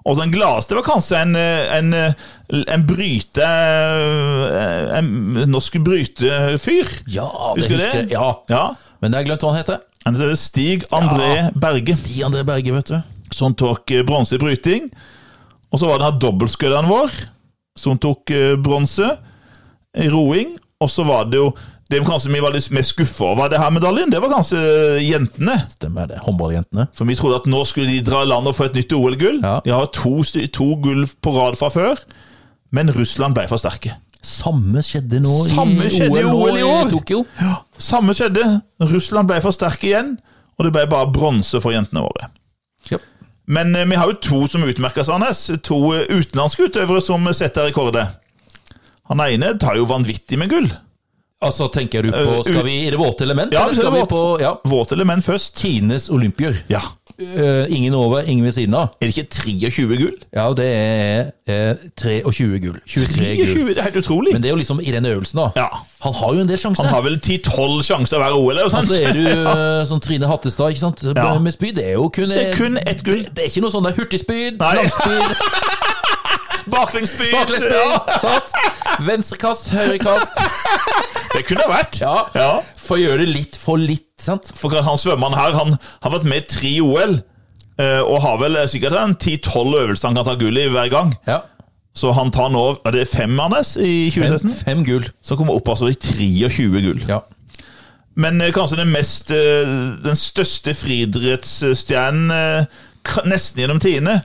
Og den gladeste var kanskje en, eh, en, eh, en bryte... eh, En norsk brytefyr. Ja, det Husker du det? jeg. Ja. Ja. Men jeg har glemt hva han heter. Han heter Stig André Berge, De André Berge, vet du. som tok eh, bronse i bryting. Og så var det han dobbeltskudderen vår, som tok eh, bronse i roing. Og så var det jo Det kanskje vi var litt mer skuffa over det her medaljen, det var kanskje eh, jentene. Stemmer det. Håndballjentene. For vi trodde at nå skulle de dra i land og få et nytt OL-gull. Ja. De har to, sty- to gull på rad fra før, men Russland ble for sterke. Samme skjedde nå Samme skjedde i nå OL i år. Tokyo. Samme skjedde. Russland ble for sterke igjen, og det ble bare bronse for jentene våre. Ja. Men eh, vi har jo to som utmerker seg, Anders. To eh, utenlandske utøvere som eh, setter rekorder. Han ene tar jo vanvittig med gull. Altså, tenker du på Eh, Skal vi i det våte element? Ja, eller vi skal skal i vi våt. på ja, Vårt element først. Tines olympier? Ja. Eh, ingen over, ingen ved siden av. Er det ikke 23 gull? Ja, og det er eh, 23 gull. 23 gull. 23, det er helt utrolig. Men det er jo liksom i den øvelsen, da. Ja. Han har jo en del sjanser. Han har vel 10-12 sjanser hver OL, eller noe sånt? Så er du eh, som Trine Hattestad, ikke sant? Ja. med spyd. Det er jo kun, Det er kun ett gull. Det er ikke noe sånn der hurtigspyd, Nei. langspyd, Baklengsspyd! baklengsspyd, Ja, tatt. venstrekast, høyrekast. det kunne det vært. Ja. ja. For å gjøre det litt for litt, sant? For han svømmeren her han har vært med i tre OL. eh, Og har vel sikkert en 10-12 øvelser han kan ta gull i hver gang. Ja. Så han tar nå er det fem hans i Fem, 2016. fem gull. Så kommer opp altså i 23 gull. Ja. Men eh, kanskje den mest eh, Den største friidrettsstjernen eh, ka- nesten gjennom tiende,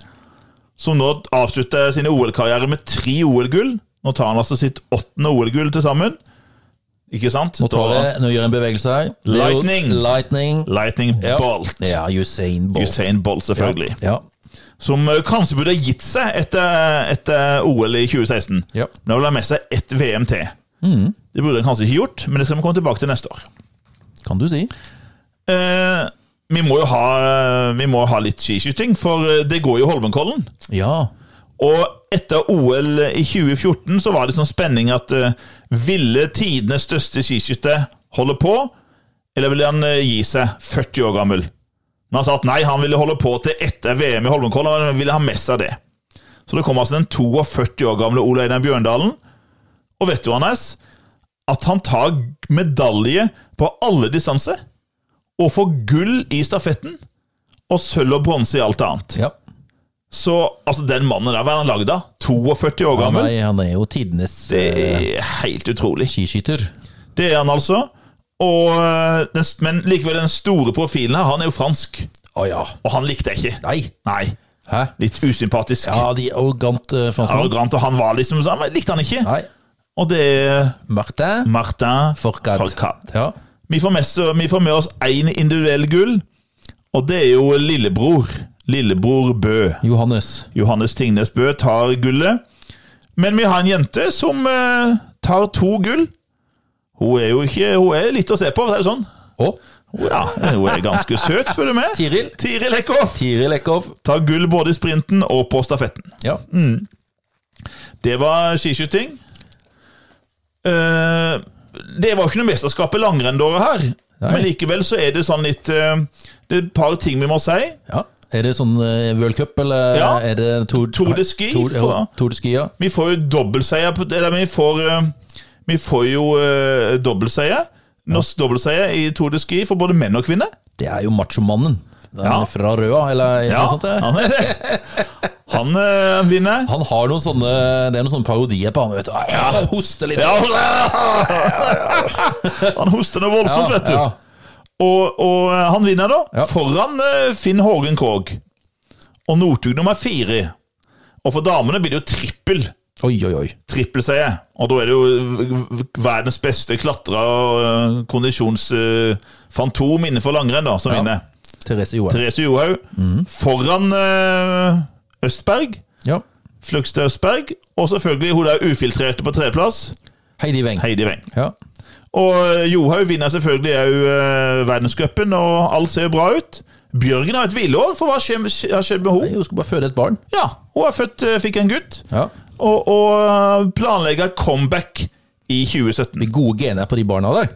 som nå avslutter sin OL-karriere med tre OL-gull. Nå tar han altså sitt åttende OL-gull til sammen. Ikke sant? Nå, tar jeg, nå gjør jeg en bevegelse her. Det er jo- Lightning. Lightning. Lightning Ja. Bolt. Ja, Usain Bolt. Usain Bolt, selvfølgelig. Ja. Som eh, kanskje burde ha gitt seg etter, etter OL i 2016. Ja. Mm. Men han vil ha med seg ett VM til. Det burde han kanskje ikke gjort, men det skal vi komme tilbake til neste år. Kan du si. Eh, vi må jo ha, eh, vi må ha litt skiskyting, for eh, det går jo Holmenkollen. Ja. Og etter OL i 2014 så var det sånn spenning at eh, ville tidenes største skiskytter holde på, eller ville han eh, gi seg 40 år gammel? Men han sa at nei, han ville holde på til etter VM i Holmenkollen, og han ville ha med seg det. Så det kom altså den 42 år gamle Ole Einar Bjørndalen, og vet du, Anders, at han tar medalje på alle distanser, og får gull i stafetten, og sølv og bronse i alt annet. ja. Så altså, den mannen der, hva er han lagd av? 42 år Han, gammel? er, han er jo tidenes Det eh, er helt utrolig. skiskytter. Det er han altså. Og, eh, den, men likevel, den store profilen her, han er jo fransk. Å ja. Og han likte jeg ikke. Nei. Nei. Hæ? Litt usympatisk. Ja, de arrogant eh, franskmenn. Arrogant. Og han var liksom sånn, men likte han ikke. Nei. Og det er Martin Martin Forcad. Forcad. Ja. Vi får med, så- vi får med oss én individuell gull, og det er jo lillebror. Lillebror Bø. Johannes. Johannes Tingnes Bø tar gullet. Men vi har en jente som eh, tar to gull. Hun er jo ikke Hun er litt å se på, for å si det sånn. Og Hun, ja, hun er ganske søt, spør du meg. Tiril. Tiril Eckhoff Tiril Eckhoff. tar gull både i sprinten og på stafetten. Ja. Det var skiskyting. Eh, det var jo ikke noe mesterskap i langrenn det året her, Nei. men likevel så er det sånn litt eh, Det er et par ting vi må si. ja. Er det sånn eh, World Cup, eller Ja. er det Tour, Tour de Ski Tour, ja, fra- Tour de Ski, ja. Vi får jo dobbeltseier på Eller vi får, eh, vi får jo eh, dobbeltseier. Norsk dobbeltseier i Tour de Ski for både menn og kvinner. Det er jo machomannen. Den Ja. Fra Røa, eller noe sånt. det. han er det. Han eh, vinner. Han har noen sånne Det er noen sånne parodier på han, vet du. Ja, hoste litt. Ja, han hoster noe voldsomt, vet du. Ja, Og, og eh, han vinner, da. Ja. Foran eh, Finn Hågen Krogh. Og Northug nummer fire. Og for damene blir det jo trippel. Oi, oi, oi. Trippelseier. Og da er det jo v- v- verdens beste klatra og eh, kondisjonsfantom innenfor langrenn da, som Ja. vinner. Therese Johaug. Therese Johaug foran eh, Østberg. Ja. Flugstad Østberg. Og selvfølgelig hun der ufiltrerte på tredjeplass, Heidi Weng. Heidi Weng. Ja. Og eh, Johaug vinner selvfølgelig òg eh, verdenscupen, og alt ser bra ut. Bjørgen har et hvileår, for hva skjer- har skjedd med henne? Nei, Hun skulle bare føde et barn. Ja, hun har født, eh, fikk en gutt, Ja. og, og planlegger comeback i 2017. De gode gener på de barna der.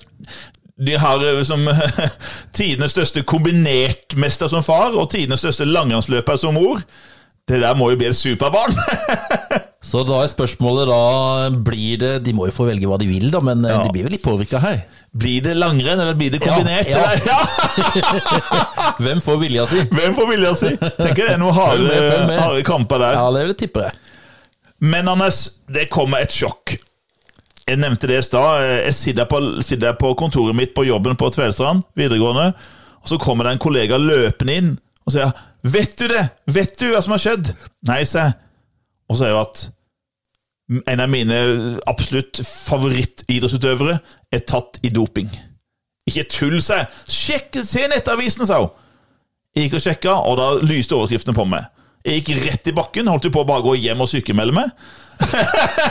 De har eh, som tidenes største kombinertmester som far, og tidenes største langrennsløper som mor. Det der må jo bli et superbarn! Så da er spørsmålet da blir det De må jo få velge hva de vil, da, men eh, Ja. de blir vel litt påvirka her. Blir det langrenn, eller blir det kombinert? Ja, ja. eller? ja. Hvem får vilja si? Hvem får vilja si? Tenker det er noen Følg harde, med, følg med. harde kamper der. Ja, det vil jeg tippe. Men Anders, det kommer et sjokk. Jeg nevnte det i stad. Jeg sitter på, sitter på kontoret mitt på jobben på Tvedestrand videregående, og så kommer det en kollega løpende inn og sier 'Vet du det? Vet du hva som har skjedd?' Nei, sier jeg. Og så er jo at en av mine absolutt favorittidrettsutøvere er tatt i doping. Ikke tull, sa jeg. Sjekk, se nettavisen, sa hun. Jeg gikk og sjekka, og da lyste overskriftene på meg. Jeg gikk rett i bakken, holdt jo på å bare gå hjem og sykemelde meg.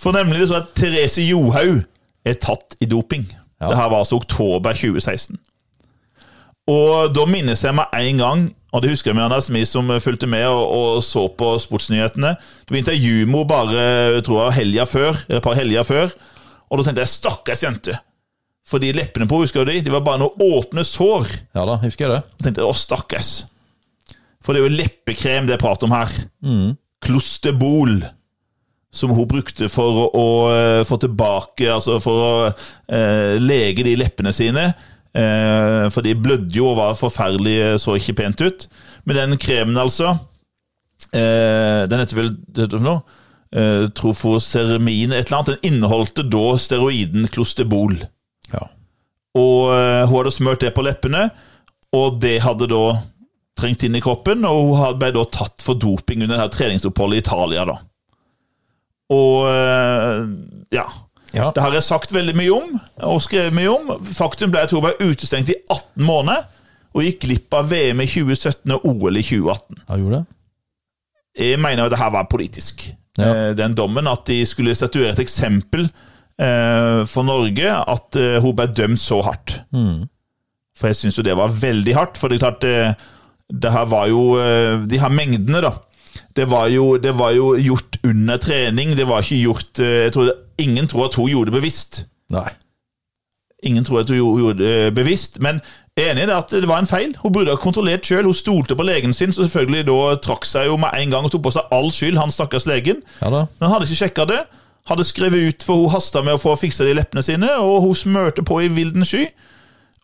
For nemlig det så at Therese Johaug er tatt i doping. Ja. Det her var altså oktober 2016. Og da minnes jeg meg en gang, og det husker jeg med Anders Vi som fulgte med og, og så på sportsnyhetene. Det var intervjumo bare tror jeg, helga før, eller et par helger før. Og da tenkte jeg 'stakkars jente'. Fordi leppene på husker du de, de var bare noen åpne sår. Ja da, husker jeg det. Og tenkte å, stakkars. For det er jo leppekrem det er prat om her. Klosterbol. Som hun brukte for å, å eh, få tilbake Altså for å eh, lege de leppene sine. Eh, for de blødde jo og var forferdelige, så ikke pent ut. Men den kremen, altså eh, Den heter vel det heter for noe? Eh, Trofosermin, et eller annet. Den inneholdte da steroiden klosterbol. Ja. Og eh, hun hadde smørt det på leppene, og det hadde da trengt inn i kroppen, og hun had- ble da tatt for doping under det her treningsoppholdet i Italia, da. Og eh, ja. Ja. Det har jeg sagt veldig mye om, og skrevet mye om. Faktum ble at hun ble utestengt i 18 måneder, og gikk glipp av VM i 2017 og OL i 2018. ja, gjorde det. Jeg mener at det her var politisk. Ja. Eh, Den dommen at de skulle statuere et eksempel eh, for Norge, at eh, hun ble dømt så hardt. For jeg syns jo det var veldig hardt, for det er klart eh, det her var jo eh, De her mengdene, da. Det var, jo, det var jo gjort under trening. Det var ikke gjort eh, jeg tror, Ingen tror at hun gjorde det bevisst. Nei. Ingen tror at hun gjo- gjorde det bevisst, men jeg er enig i det at det var en feil. Hun burde ha kontrollert sjøl. Hun stolte på legen sin, så selvfølgelig da trakk seg jo med en gang og tok på seg all skyld, han stakkars legen. Ja da. Men han hadde ikke sjekka det. Hadde skrevet ut, for hun hasta med å få fiksa de leppene sine, og hun smørte på i vilden sky.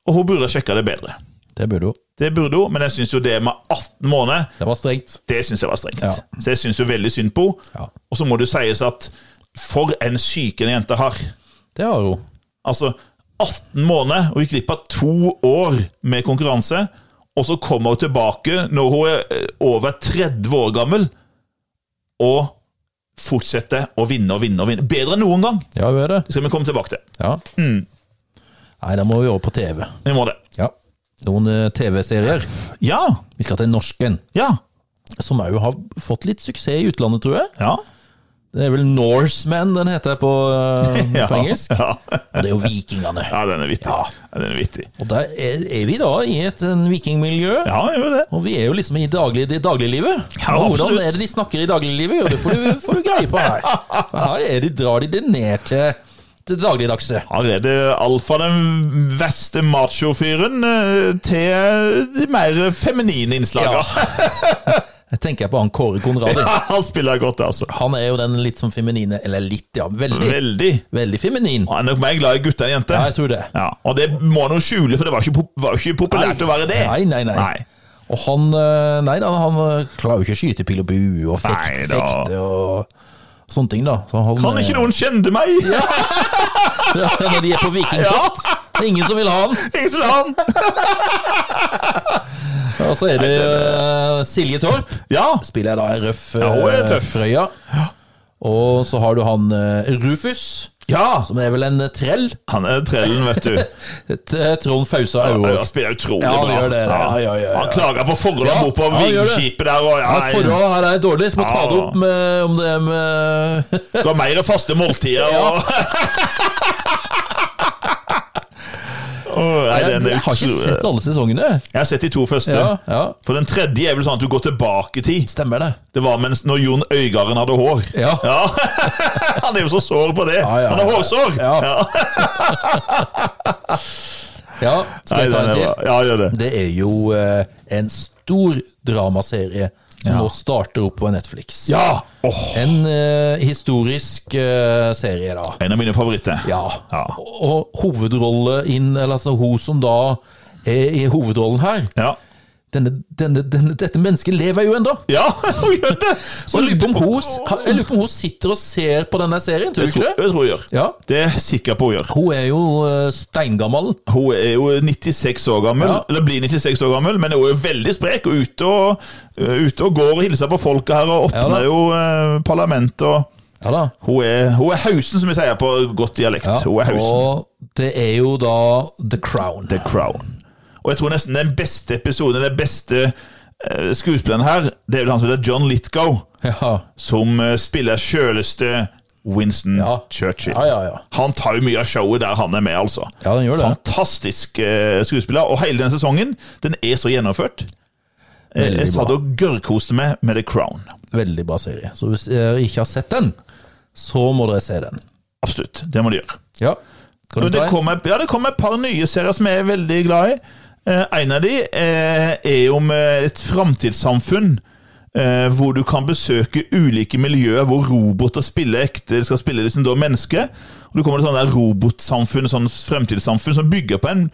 Og hun burde ha sjekka det bedre. Det burde hun. Det burde hun, men jeg syns jo det med 18 måneder, Det var strengt. det syns jeg var strengt. Ja. Så jeg syns jo veldig synd på henne. Ja. Og så må det jo sies at for en syke den jenta har. Det har hun. Altså 18 måneder og gikk glipp av to år med konkurranse. Og så kommer hun tilbake når hun er eh, over 30 år gammel, og fortsetter å vinne og vinne og vinne. Bedre enn noen gang. Ja, hun er det. Det skal vi komme tilbake til. Ja. Mm. Nei, da må vi over på TV. Vi må det. Ja. Noen eh, TV-serier. Ja. Vi skal til en norsk en, Ja. som òg har fått litt suksess i utlandet, tror jeg. Ja. Det er vel Norseman den heter på, eh, ja. på engelsk. Ja. Og det er jo vikingene. ja, den er vittig. Ja. Ja, den er vittig. Og der er, er vi da i et en vikingmiljø. Ja, gjør det. Og vi er jo liksom i daglig, det dagliglivet. Ja, Og Hvordan absolutt. er det de snakker i dagliglivet? Jo, det får du, får du greie på her. For her er de, drar de det ned til, til det dagligdagse. Her er det alt fra den verste machofyren eh, til de mer feminine Ja. innslagene. Jeg tenker på han Kåre Konradi. Han spiller godt, altså. Han er jo den litt sånn feminine, eller litt, ja. Veldig, Veldig. veldig feminin. Han er nok mer glad i gutter enn jenter. Ja, jeg tror det. Ja, og det må han jo skjule, for det var ikke, pop var ikke populært å være det. Nei, nei, nei. Og han eh, Nei da, han eh, klarer jo ikke å skyte pil og bue og fekte, Nei da. fekte og sånne ting, da. Så han, Kan eh, ikke noen kjenne meg? ja, Når de er på vikingtokt. Det er ingen som vil ha han. Ingen som vil ha han. Og så er det eh, Silje Torp. Ja, spiller jeg da en røff Ja, hun er eh, tøff. Frøya. Og så har du han eh, Rufus, Ja! som er vel en eh, trell. Han er trellen, vet du. Et, eh, Trond Fausa Ja, Aue. Han spiller utrolig Ja, han bra. gjør det, det. Ja, ja, ja, ja. Han klager på forholdene Ja, ja, på han gjør det. vingskipet der. Og, ja, Ja, forholdet her er dårlig, så må ta det Ja. opp med, om det er med Skal ha mer faste måltider. Og... Åh, nei, jeg, den er jeg har ikke utro- sett alle sesongene. Jeg har sett de to første. Ja, ja. For den tredje er vel sånn at du går tilbake i tid. Stemmer det. Det var mens når Jon Øygarden hadde hår. Ja. Han er jo så sår på det. Ja, ja, Han har ja. hårsår! Ja. Ja, skal Nei, jeg ta den en er til? bra. ja, gjør det. Det er jo eh, en stor dramaserie som Ja. nå starter opp på Netflix. Ja! Åh, En eh, historisk eh, serie, da. en av mine favoritter. Ja. Ja. Og hovedrolle inn, eller altså hun som da er i hovedrollen her Ja. denne, denne, denne, Dette mennesket lever jo ennå! Ja, hun gjør det! Så jeg lurer på om hun- jeg lurer på om hun sitter og ser på denne serien, tror du Jeg tror ikke det? jeg tror hun gjør. Ja. Det er jeg sikker på hun gjør. Hun er jo eh, steingammal. Hun er jo 96 år gammel, Ja. eller blir 96 år gammel, men hun er jo veldig sprek. og Ute og, eh, ute og går og hilser på folket her, Ja og da. åpner jo eh, parlamentet. og Ja da. Hun er, hun er hausen, som vi sier på godt dialekt. Ja. Hun er hausen. Og det er jo da The Crown. The Crown. Og jeg tror nesten den beste episoden, den beste eh, skuespilleren her, det er vel han som heter John Litgow, Ja. som eh, spiller sjøleste Winston Ja. Churchill. ja, ja, ja. Han tar jo mye av showet der han er med, altså. Ja, den gjør det. Fantastisk eh, skuespiller. Og hele den sesongen, den er så gjennomført. Eh, Veldig jeg satt bra. og gørrkoste meg med The Crown. Veldig bra serie. Så hvis dere ikke har sett den, så må dere se den. Absolutt. Det må de gjøre. Ja. Kan Og du det ta en? kom, et- ja, det kom et par nye serier som jeg er veldig glad i. Eh, en av de eh, er om eh, et framtidssamfunn eh, hvor du kan besøke ulike miljøer hvor roboter spiller ekte, skal spille liksom da mennesker. Og du kommer til et sånt der robotsamfunn, sånn fremtidssamfunn, som bygger på en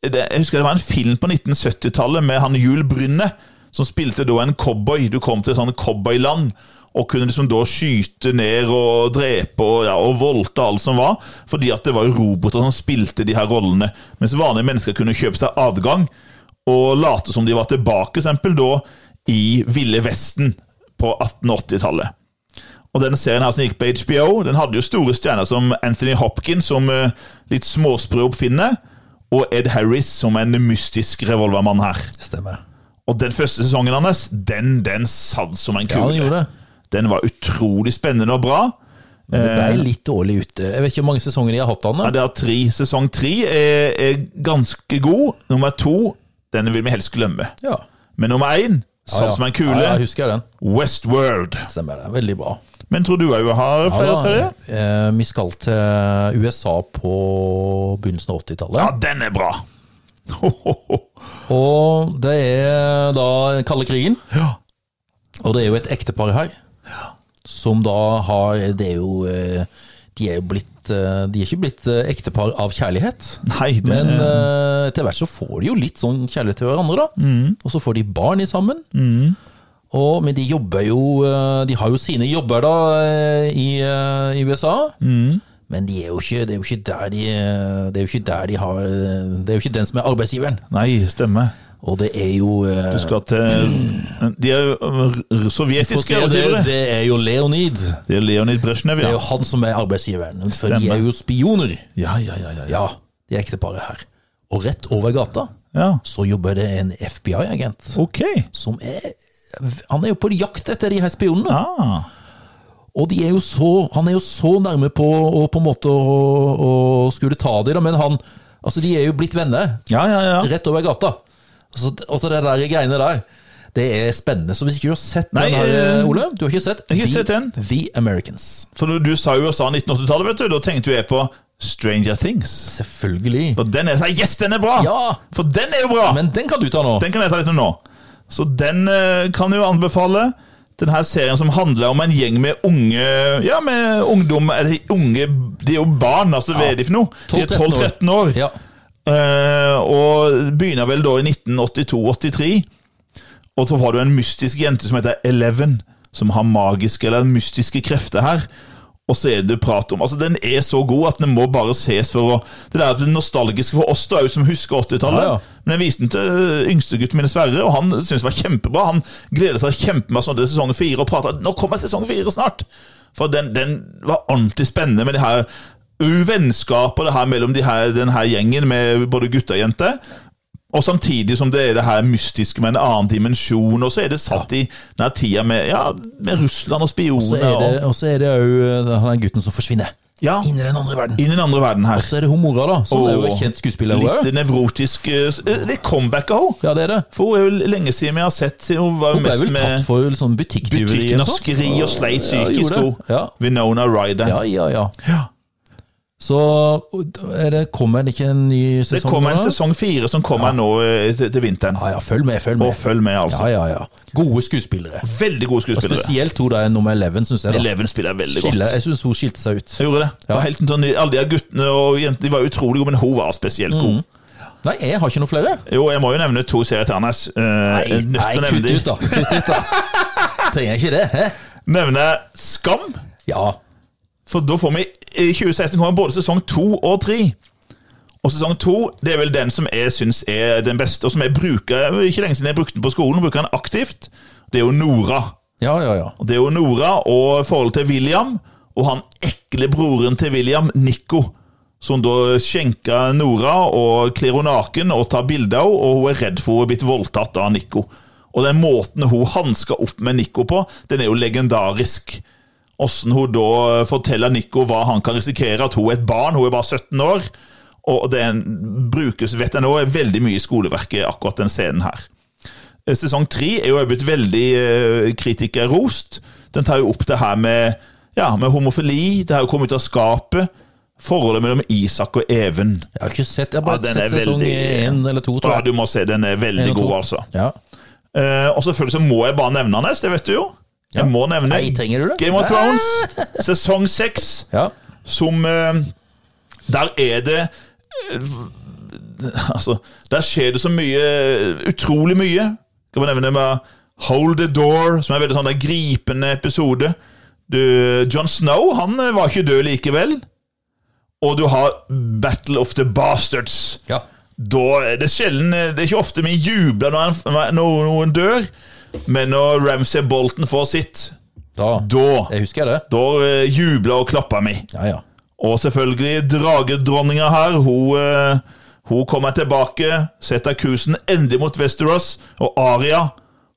det, Jeg husker det var en film på 1970-tallet med han Jul Brynne, som spilte da en cowboy. Du kom til et sånt cowboyland og kunne liksom da skyte ned og drepe og, ja, og voldte alt som var, fordi at det var jo roboter som spilte de her rollene, mens vanlige mennesker kunne kjøpe seg adgang og late som de var tilbake, for eksempel da i Ville Vesten på 1880-tallet. Og den serien her som gikk på HBO, den hadde jo store stjerner som Anthony Hopkins som eh, litt småsprø oppfinner, og Ed Harris som en mystisk revolvermann her. Stemmer. Og den første sesongen hans, den, den satt som en Ja, kule. den gjorde det. den var utrolig spennende og bra. Men det ble litt dårlig ute. Jeg vet ikke hvor mange sesonger de har hatt den. Eh. Ja, da. det er tre. Sesong tre er, er ganske god. Nummer to, den vil vi helst glemme. Ja. Men nummer én, Ja, sånn ja. som en kule, Ja, ja, husker jeg den. Westworld. Stemmer det. Veldig bra. Men tror du òg har flere serier? eh, vi skal til USA på begynnelsen av 80-tallet. Ja, den er bra! Og det er da den kalde krigen. Og det er jo et ektepar her. Som da har Det er jo eh, De er jo blitt eh, De er ikke blitt eh, ektepar av kjærlighet. Nei, det Men eh, etter hvert så får de jo litt sånn kjærlighet til hverandre, da. Og så får de barn i sammen. Og, men de jobber jo eh, De har jo sine jobber, da, eh, i, eh, i USA. Men de er jo ikke, det er jo ikke der de eh, Det er jo ikke der de har eh, Det er jo ikke den som er arbeidsgiveren. Nei, stemmer. Og det er jo eh, Du skal til eh, De er r- for r- å si sovjetiske det, sånn, arbeidsgivere. det er jo Leonid. Det Det er Leonid Brezjnev, er ja. jo han som er arbeidsgiveren. For de Stemmer. er jo spioner. Ja, ja, ja. ja, ja. Ja, de er ekteparet her. Og rett over gata ja. så jobber det en FBI-agent Ok. som er Han er jo på jakt etter de her spionene. Ah. Og de er jo så, han er jo så nærme på å på en måte å, å skulle ta dem, da, men han Altså, de er jo blitt venner. Ja, ja, ja. Rett over gata. Altså, altså det der greiene der, det er spennende. Så hvis ikke du har sett Nei, den her, eh, Ole Du har ikke sett, har ikke The- sett den. The Americans. For når du sa USA 1980-tallet, vet du, da tenkte jo jeg på Stranger Things. Selvfølgelig. Og den er sånn, yes, den er bra! Ja. For den er jo bra! Men den kan du ta nå. Den kan jeg ta litt om nå. Så den eh, kan jeg jo anbefale. Denne serien som handler om en gjeng med unge Ja, med ungdom Eller unge De er jo barn, altså. Hva er de for noe? De er 12-13 12-13 år. Ja. Eh, og begynner vel da i 1982-83. Og så har du en mystisk jente som heter Eleven, som har magiske eller mystiske krefter her. Og så er det prat om Altså, den er så god at den må bare ses for å Det der er det nostalgiske for oss, da, som husker 80-tallet. Ja, ja. Men jeg viste den til yngstegutten min, Sverre, og han syntes det var kjempebra. Han gleder seg kjempemasse til sesong fire og prater 'Nå kommer sesong fire snart'. For den, den var ordentlig spennende med det her uvennskapet det her mellom de her, den her gjengen med både gutter og jenter. Og samtidig som det er det her mystiske med en annen dimensjon, og så er det satt i den her tida med, ja, med Russland og Så spioner er det, og og så er det òg han er gutten som forsvinner. ja, Inn i den andre verden. inn i den andre verden her. Så er det hun mora, da, som er jo en Åh. kjent skuespiller. hun Litt er. nevrotisk eh, Litt comeback av henne. Ja, det er det. For hun er jo lenge siden vi har sett Hun var jo Hun ble mest vel tatt med for sånn butikktyveri. eller noe sånt. butikknaskeri og sleit Ja, gjorde psykisk. det. hun. Ja. Winona Ryder. Ja, ja, ja. Ja. Så er det, kommer det ikke en ny Det sesong? kommer en nå, da? sesong fire som kommer nå eh, til, til vinteren. Ja, ja, følg med, følg med. Og følg med, altså. Ja, ja, ja. Gode skuespillere. Veldig gode Og skuespillere. spesielt hun der nummer 11, syns jeg. da. Eleven spiller veldig Skille, godt. jeg syns hun skilte seg ut. Jeg gjorde det. det var helt en sånn, alle de her guttene og jentene de var utrolig gode, men hun var spesielt Mm. god. Nei, jeg har ikke noe flere. Jo, jeg må jo nevne to serier til Anders. Eh, jeg er nødt til å nevne kutt de. ut, da. Kutt ut, da. Trenger jeg ikke det? Hæ? Nevne Skam. Ja. For da får vi I 2016 kommer både sesong to og tre. Og sesong to det er vel den som jeg syns er den beste, og som jeg bruker ikke lenge siden jeg brukte den på skolen. bruker den aktivt. Det er jo Nora. Ja, ja, ja. Og Det er jo Nora og forholdet til William og han ekle broren til William, Nico. Som da skjenker Nora og kler henne naken og tar bilde av henne, og hun er redd for hun er blitt voldtatt av Nico. Og den måten hun hansker opp med Nico på, den er jo legendarisk. Åssen hun da forteller Nico hva han kan risikere, at hun er et barn, hun er bare 17 år. Og den brukes, vet jeg nå, er veldig mye i skoleverket, akkurat den scenen her. Eh, Sesong tre er jo blitt veldig eh, kritikerrost. Den tar jo opp det her med, ja, med homofili, det her å komme ut av skapet, forholdet mellom Isak og Even. Jeg har ikke sett Jeg har bare Ja, den er sett sesong veldig- eh, én eller to, Ja, tror jeg. du må se, den er veldig En og to. god, altså. Ja. Eh, og selvfølgelig så må jeg bare nevne den, det vet du jo. Jeg må nevne Nei, trenger du det? Game of Thrones, sesong seks, Ja. som eh, Der er det eh, Altså, der skjer det så mye Utrolig mye. Skal man nevne med Hold the Door, som er en veldig sånn der gripende episode. Du, John Snow han eh, var ikke død likevel. Og du har Battle of the Bastards. ja. Da, eh, det, er sjelden, det er ikke ofte vi jubler når, en, når noen dør, men når Ramsay Bolton får sitt, Da. da, Jeg husker det. da eh, jubler og klapper vi. Ja, ja. Og selvfølgelig dragedronninga her. Hun, eh, hun kommer tilbake, setter kursen endelig mot Westeros, og Aria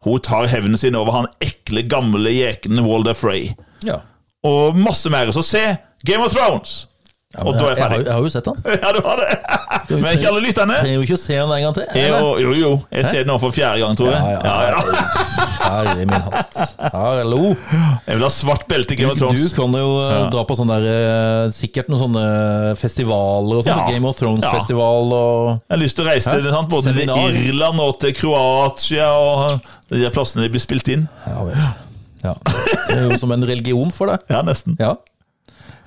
hun tar hevnen sin over han ekle, gamle jekenen Walder Frey. ja. Og masse mer. Så se Game of Thrones! ja og men da er jeg jeg, har, ferdig. jeg har jo sett han. Ja, du har det! Men ikke alle lytterne. Trenger jo ikke å se han en gang til. Jeg, eller? jo, jo, jo. Jeg ser det nå for fjerde gang, tror jeg. Ja, ja, Ja, ja. Herre min hatt. Hallo. Jeg vil ha svart belte i Game of Du Thrones. kan jo eh, dra på sånne der, eh, sikkert noen sånne festivaler og sånn. Ja. Game of Thrones-festival og Jeg har lyst til å reise til sant? både til Seminar. Irland og til Kroatia og de der plassene de blir spilt inn. Ja vel. Ja. Det er jo som en religion for deg. Ja, nesten. Ja.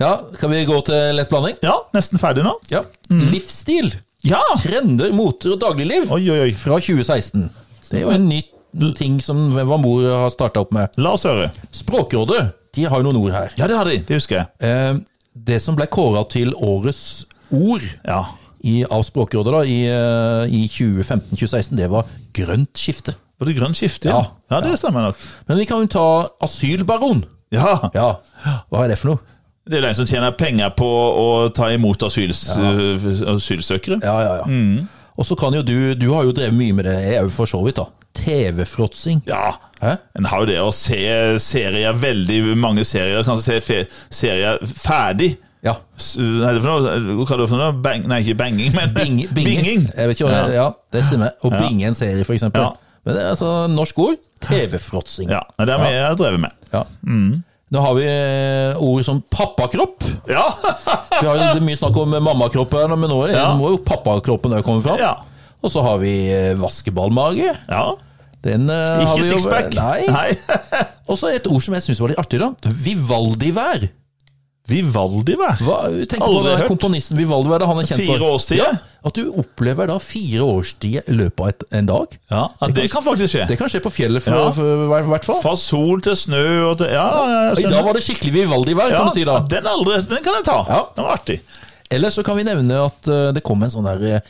ja. Skal vi gå til lett blanding? Ja, nesten ferdig nå. Ja. Mm. Livsstil. Ja! Trender, moter og dagligliv Oi, oi, oi. fra 2016. Det er jo en ny ting som Vamor har starta opp med. La oss høre. Språkrådet de har jo noen ord her. Ja, det har de. Det husker jeg. Eh, Det som ble kåra til årets ord Ja. i, av Språkrådet da, i, eh, i 2015-2016, det var grønt skifte. Var det grønt skifte? Ja. ja, det stemmer nok. Men vi kan jo ta asylbaron. Ja. Ja, hva er det for noe? Det er jo en som tjener penger på å ta imot asyls, asylsøkere. Ja, ja, ja. Mm. Og så kan jo du, du har jo drevet mye med det, jeg er jo for så vidt da. TV-fråtsing. Ja. Hæ? En har jo det å se serier, veldig mange serier, kanskje se fe serier ferdig. Ja. S- Nei, det er for noe, hva er det for noe? Bang, nei, ikke banging, men Bing, binge. binging. Jeg vet ikke hva det er. Ja, det stemmer. Å binge en serie, for eksempel. Ja. Men det er altså norsk ord. TV-fråtsing. Ja, Mm. det er det jeg har drevet med. Ja. Nå har vi eh, ord som pappakropp. Ja, Vi har jo mye snakk om eh, mammakropp her, men nå er- Ja. må jo pappakroppen også komme fram. Ja. Og så har vi eh, vaskeballmage. ja. Den eh, har Ikke vi jo- sixpack. Nei. Og så et ord som jeg syns var litt artig, da. Vivaldivær. Vivaldi, hva? Hva, tenk på Aldri den hørt. komponisten Vivaldi, hva er det han er kjent for? Fire årstider? Ja, at du opplever da fire årstider i løpet av et, en dag. Ja, ja, det kan faktisk skje. Det kan skje på fjellet, for, Ja. for, for, i hvert fall. Fra sol til snø og til Ja, Og I dag var det skikkelig Vivaldi-vær, ja, kan du si da. ja, den, aldri, den kan jeg ta. Ja. Den var artig. Eller så kan vi nevne at eh, det kom en sånn der eh,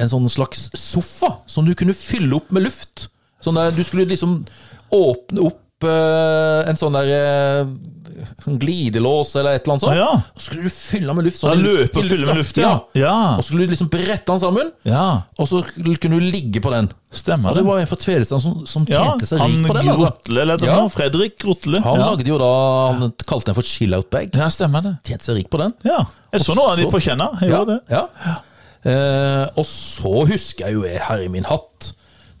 En sånn slags sofa som du kunne fylle opp med luft. Sånn der du skulle liksom åpne opp opp eh, en sånn der eh, sånn glidelås eller et eller annet sånt. Ah, ja. Og så skulle du fylle den med luft. sånn Ja, i luft- løpe og i fylle med luft, ja. Ja. Og så skulle du liksom brette den sammen, Ja, Sånn og så kunne du ligge på den. stemmer Og det var en fra Tvedestrand som, som tjente seg rik han på den. Altså. Grotle, eller hva det Ja. var, Fredrik Grotle. Han ja. lagde jo da Han kalte den for chill-out-bag. ja, stemmer det. Tjente seg rik på den. Ja, Jeg så Og noe av så- dem på Kjenna. Jeg gjorde det. Ja. Eh, og så husker jeg jo, jeg, herre min hatt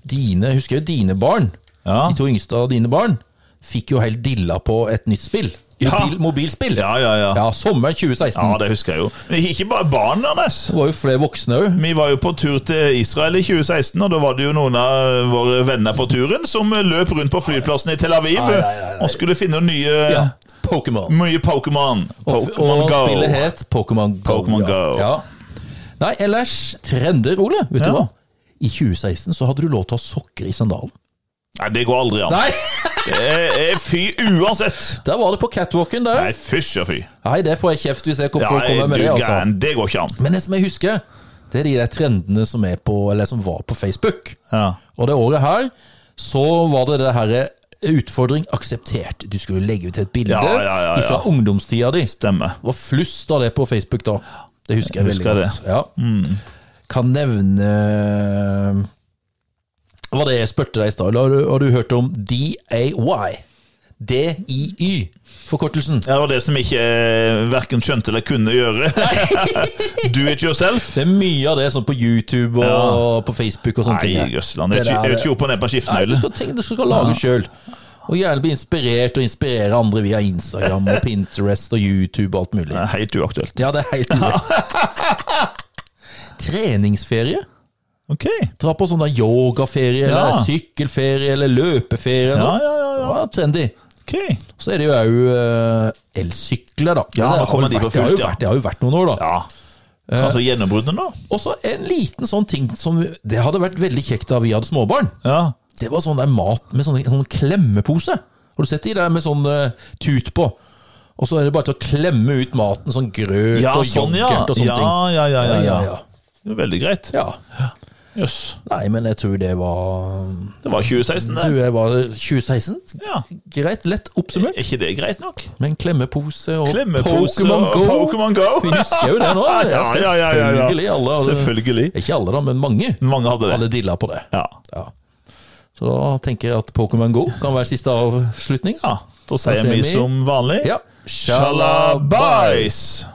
Dine, husker jeg jo dine barn, Ja. de to yngste av dine barn, fikk jo helt dilla på et nytt spill. Ja. Mobil, mobilspill. Ja, ja, ja. Ja, sommeren 2016. Ja, det husker jeg jo. Men ikke bare barna deres. Det var jo flere voksne òg. Vi var jo på tur til Israel i 2016, og da var det jo noen av våre venner på turen som løp rundt på flyplassen i Tel Aviv Ai, ai, ai, ai. og skulle finne nye Pokémon. Mye Pokémon. Og, Mm. Pokémon og Go. spillet het Pokémon Go. Pokémon ja. Go. Ja. Nei, ellers trender, Ole. Vet Ja. du hva? I 2016 så hadde du lov til å ha sokker i sandalen. Nei, det går aldri an. Nei! Eh, eh, Fy uansett. Der var det på catwalken der. Nei, fysj og fy. Nei, det får jeg kjeft hvis jeg Ja, kommer, kommer du med det, altså. gæren. Det går ikke an. Men det som jeg husker, det er de der trendene som, er på, eller som var på Facebook. Ja. Og det året her, så var det det herre utfordring akseptert. Du skulle legge ut et bilde Ja, ja, ja, ja. fra ungdomstida di. Det Stemmer. var flust av det på Facebook da. Det husker jeg, Jeg husker Mm. veldig godt. Ja. Kan nevne eh, Hva var det jeg spurte deg i stad? Har, du- har du hørt om DAY? DIY, forkortelsen. Ja, Det var det som ikke eh, verken skjønte eller kunne gjøre. Do it yourself. Det er mye av det sånn på YouTube og på Facebook og sånne Nei, ting. Jøsseland. Jeg Det der- er ikke opp og ned på Nei, du skiftenøylet. skal tenke du skal lage sjøl. Og gjerne bli inspirert og inspirere andre via Instagram og Pinterest og YouTube og alt mulig. Det er Helt uaktuelt. Ja, det er helt uaktuelt. Treningsferie? Ok. Dra på sånn der yogaferie Ja. eller sykkelferie eller løpeferie. Ja, Eller. ja, ja. ja, ja. trendy. Ok. Så er det jo òg elsykler, da. Ja, det, nå har kommer jo de for vært, det, har jo fullt, ja. vært, det har jo vært noen år, da. Ja. Eh. Altså gjennombruddet nå? Og så en liten sånn ting som Det hadde vært veldig kjekt da vi hadde småbarn. Ja. Det var sånn der mat med sånn, sånn klemmepose. Har du sett de der med sånn eh, tut på? Og så er det bare til å klemme ut maten, sånn grøt Ja, og sånn, ja. yoghurt og sånne Ja, ting. ja, ja, ja, ja. ja. Det er veldig greit. Ja. Jøss. Nei, men jeg tror det var Det var 2016, det. Du, jeg var 2016. Ja. Greit, lett Er oppsummert. ikke det greit nok? Men klemmepose og Klemmepose Pokémon og Go. Pokémon Go. Vi husker jo det nå. Ja, ja, ja, ja, ja. Selvfølgelig. Alle, hadde- Selvfølgelig. Ikke alle, da, men mange. Mange hadde det. Alle dilla på det. Ja. Ja. Så da tenker jeg at Pokémon Go kan være siste avslutning. ja. Da sier Da sier vi vi- som vanlig Ja. sjalabais!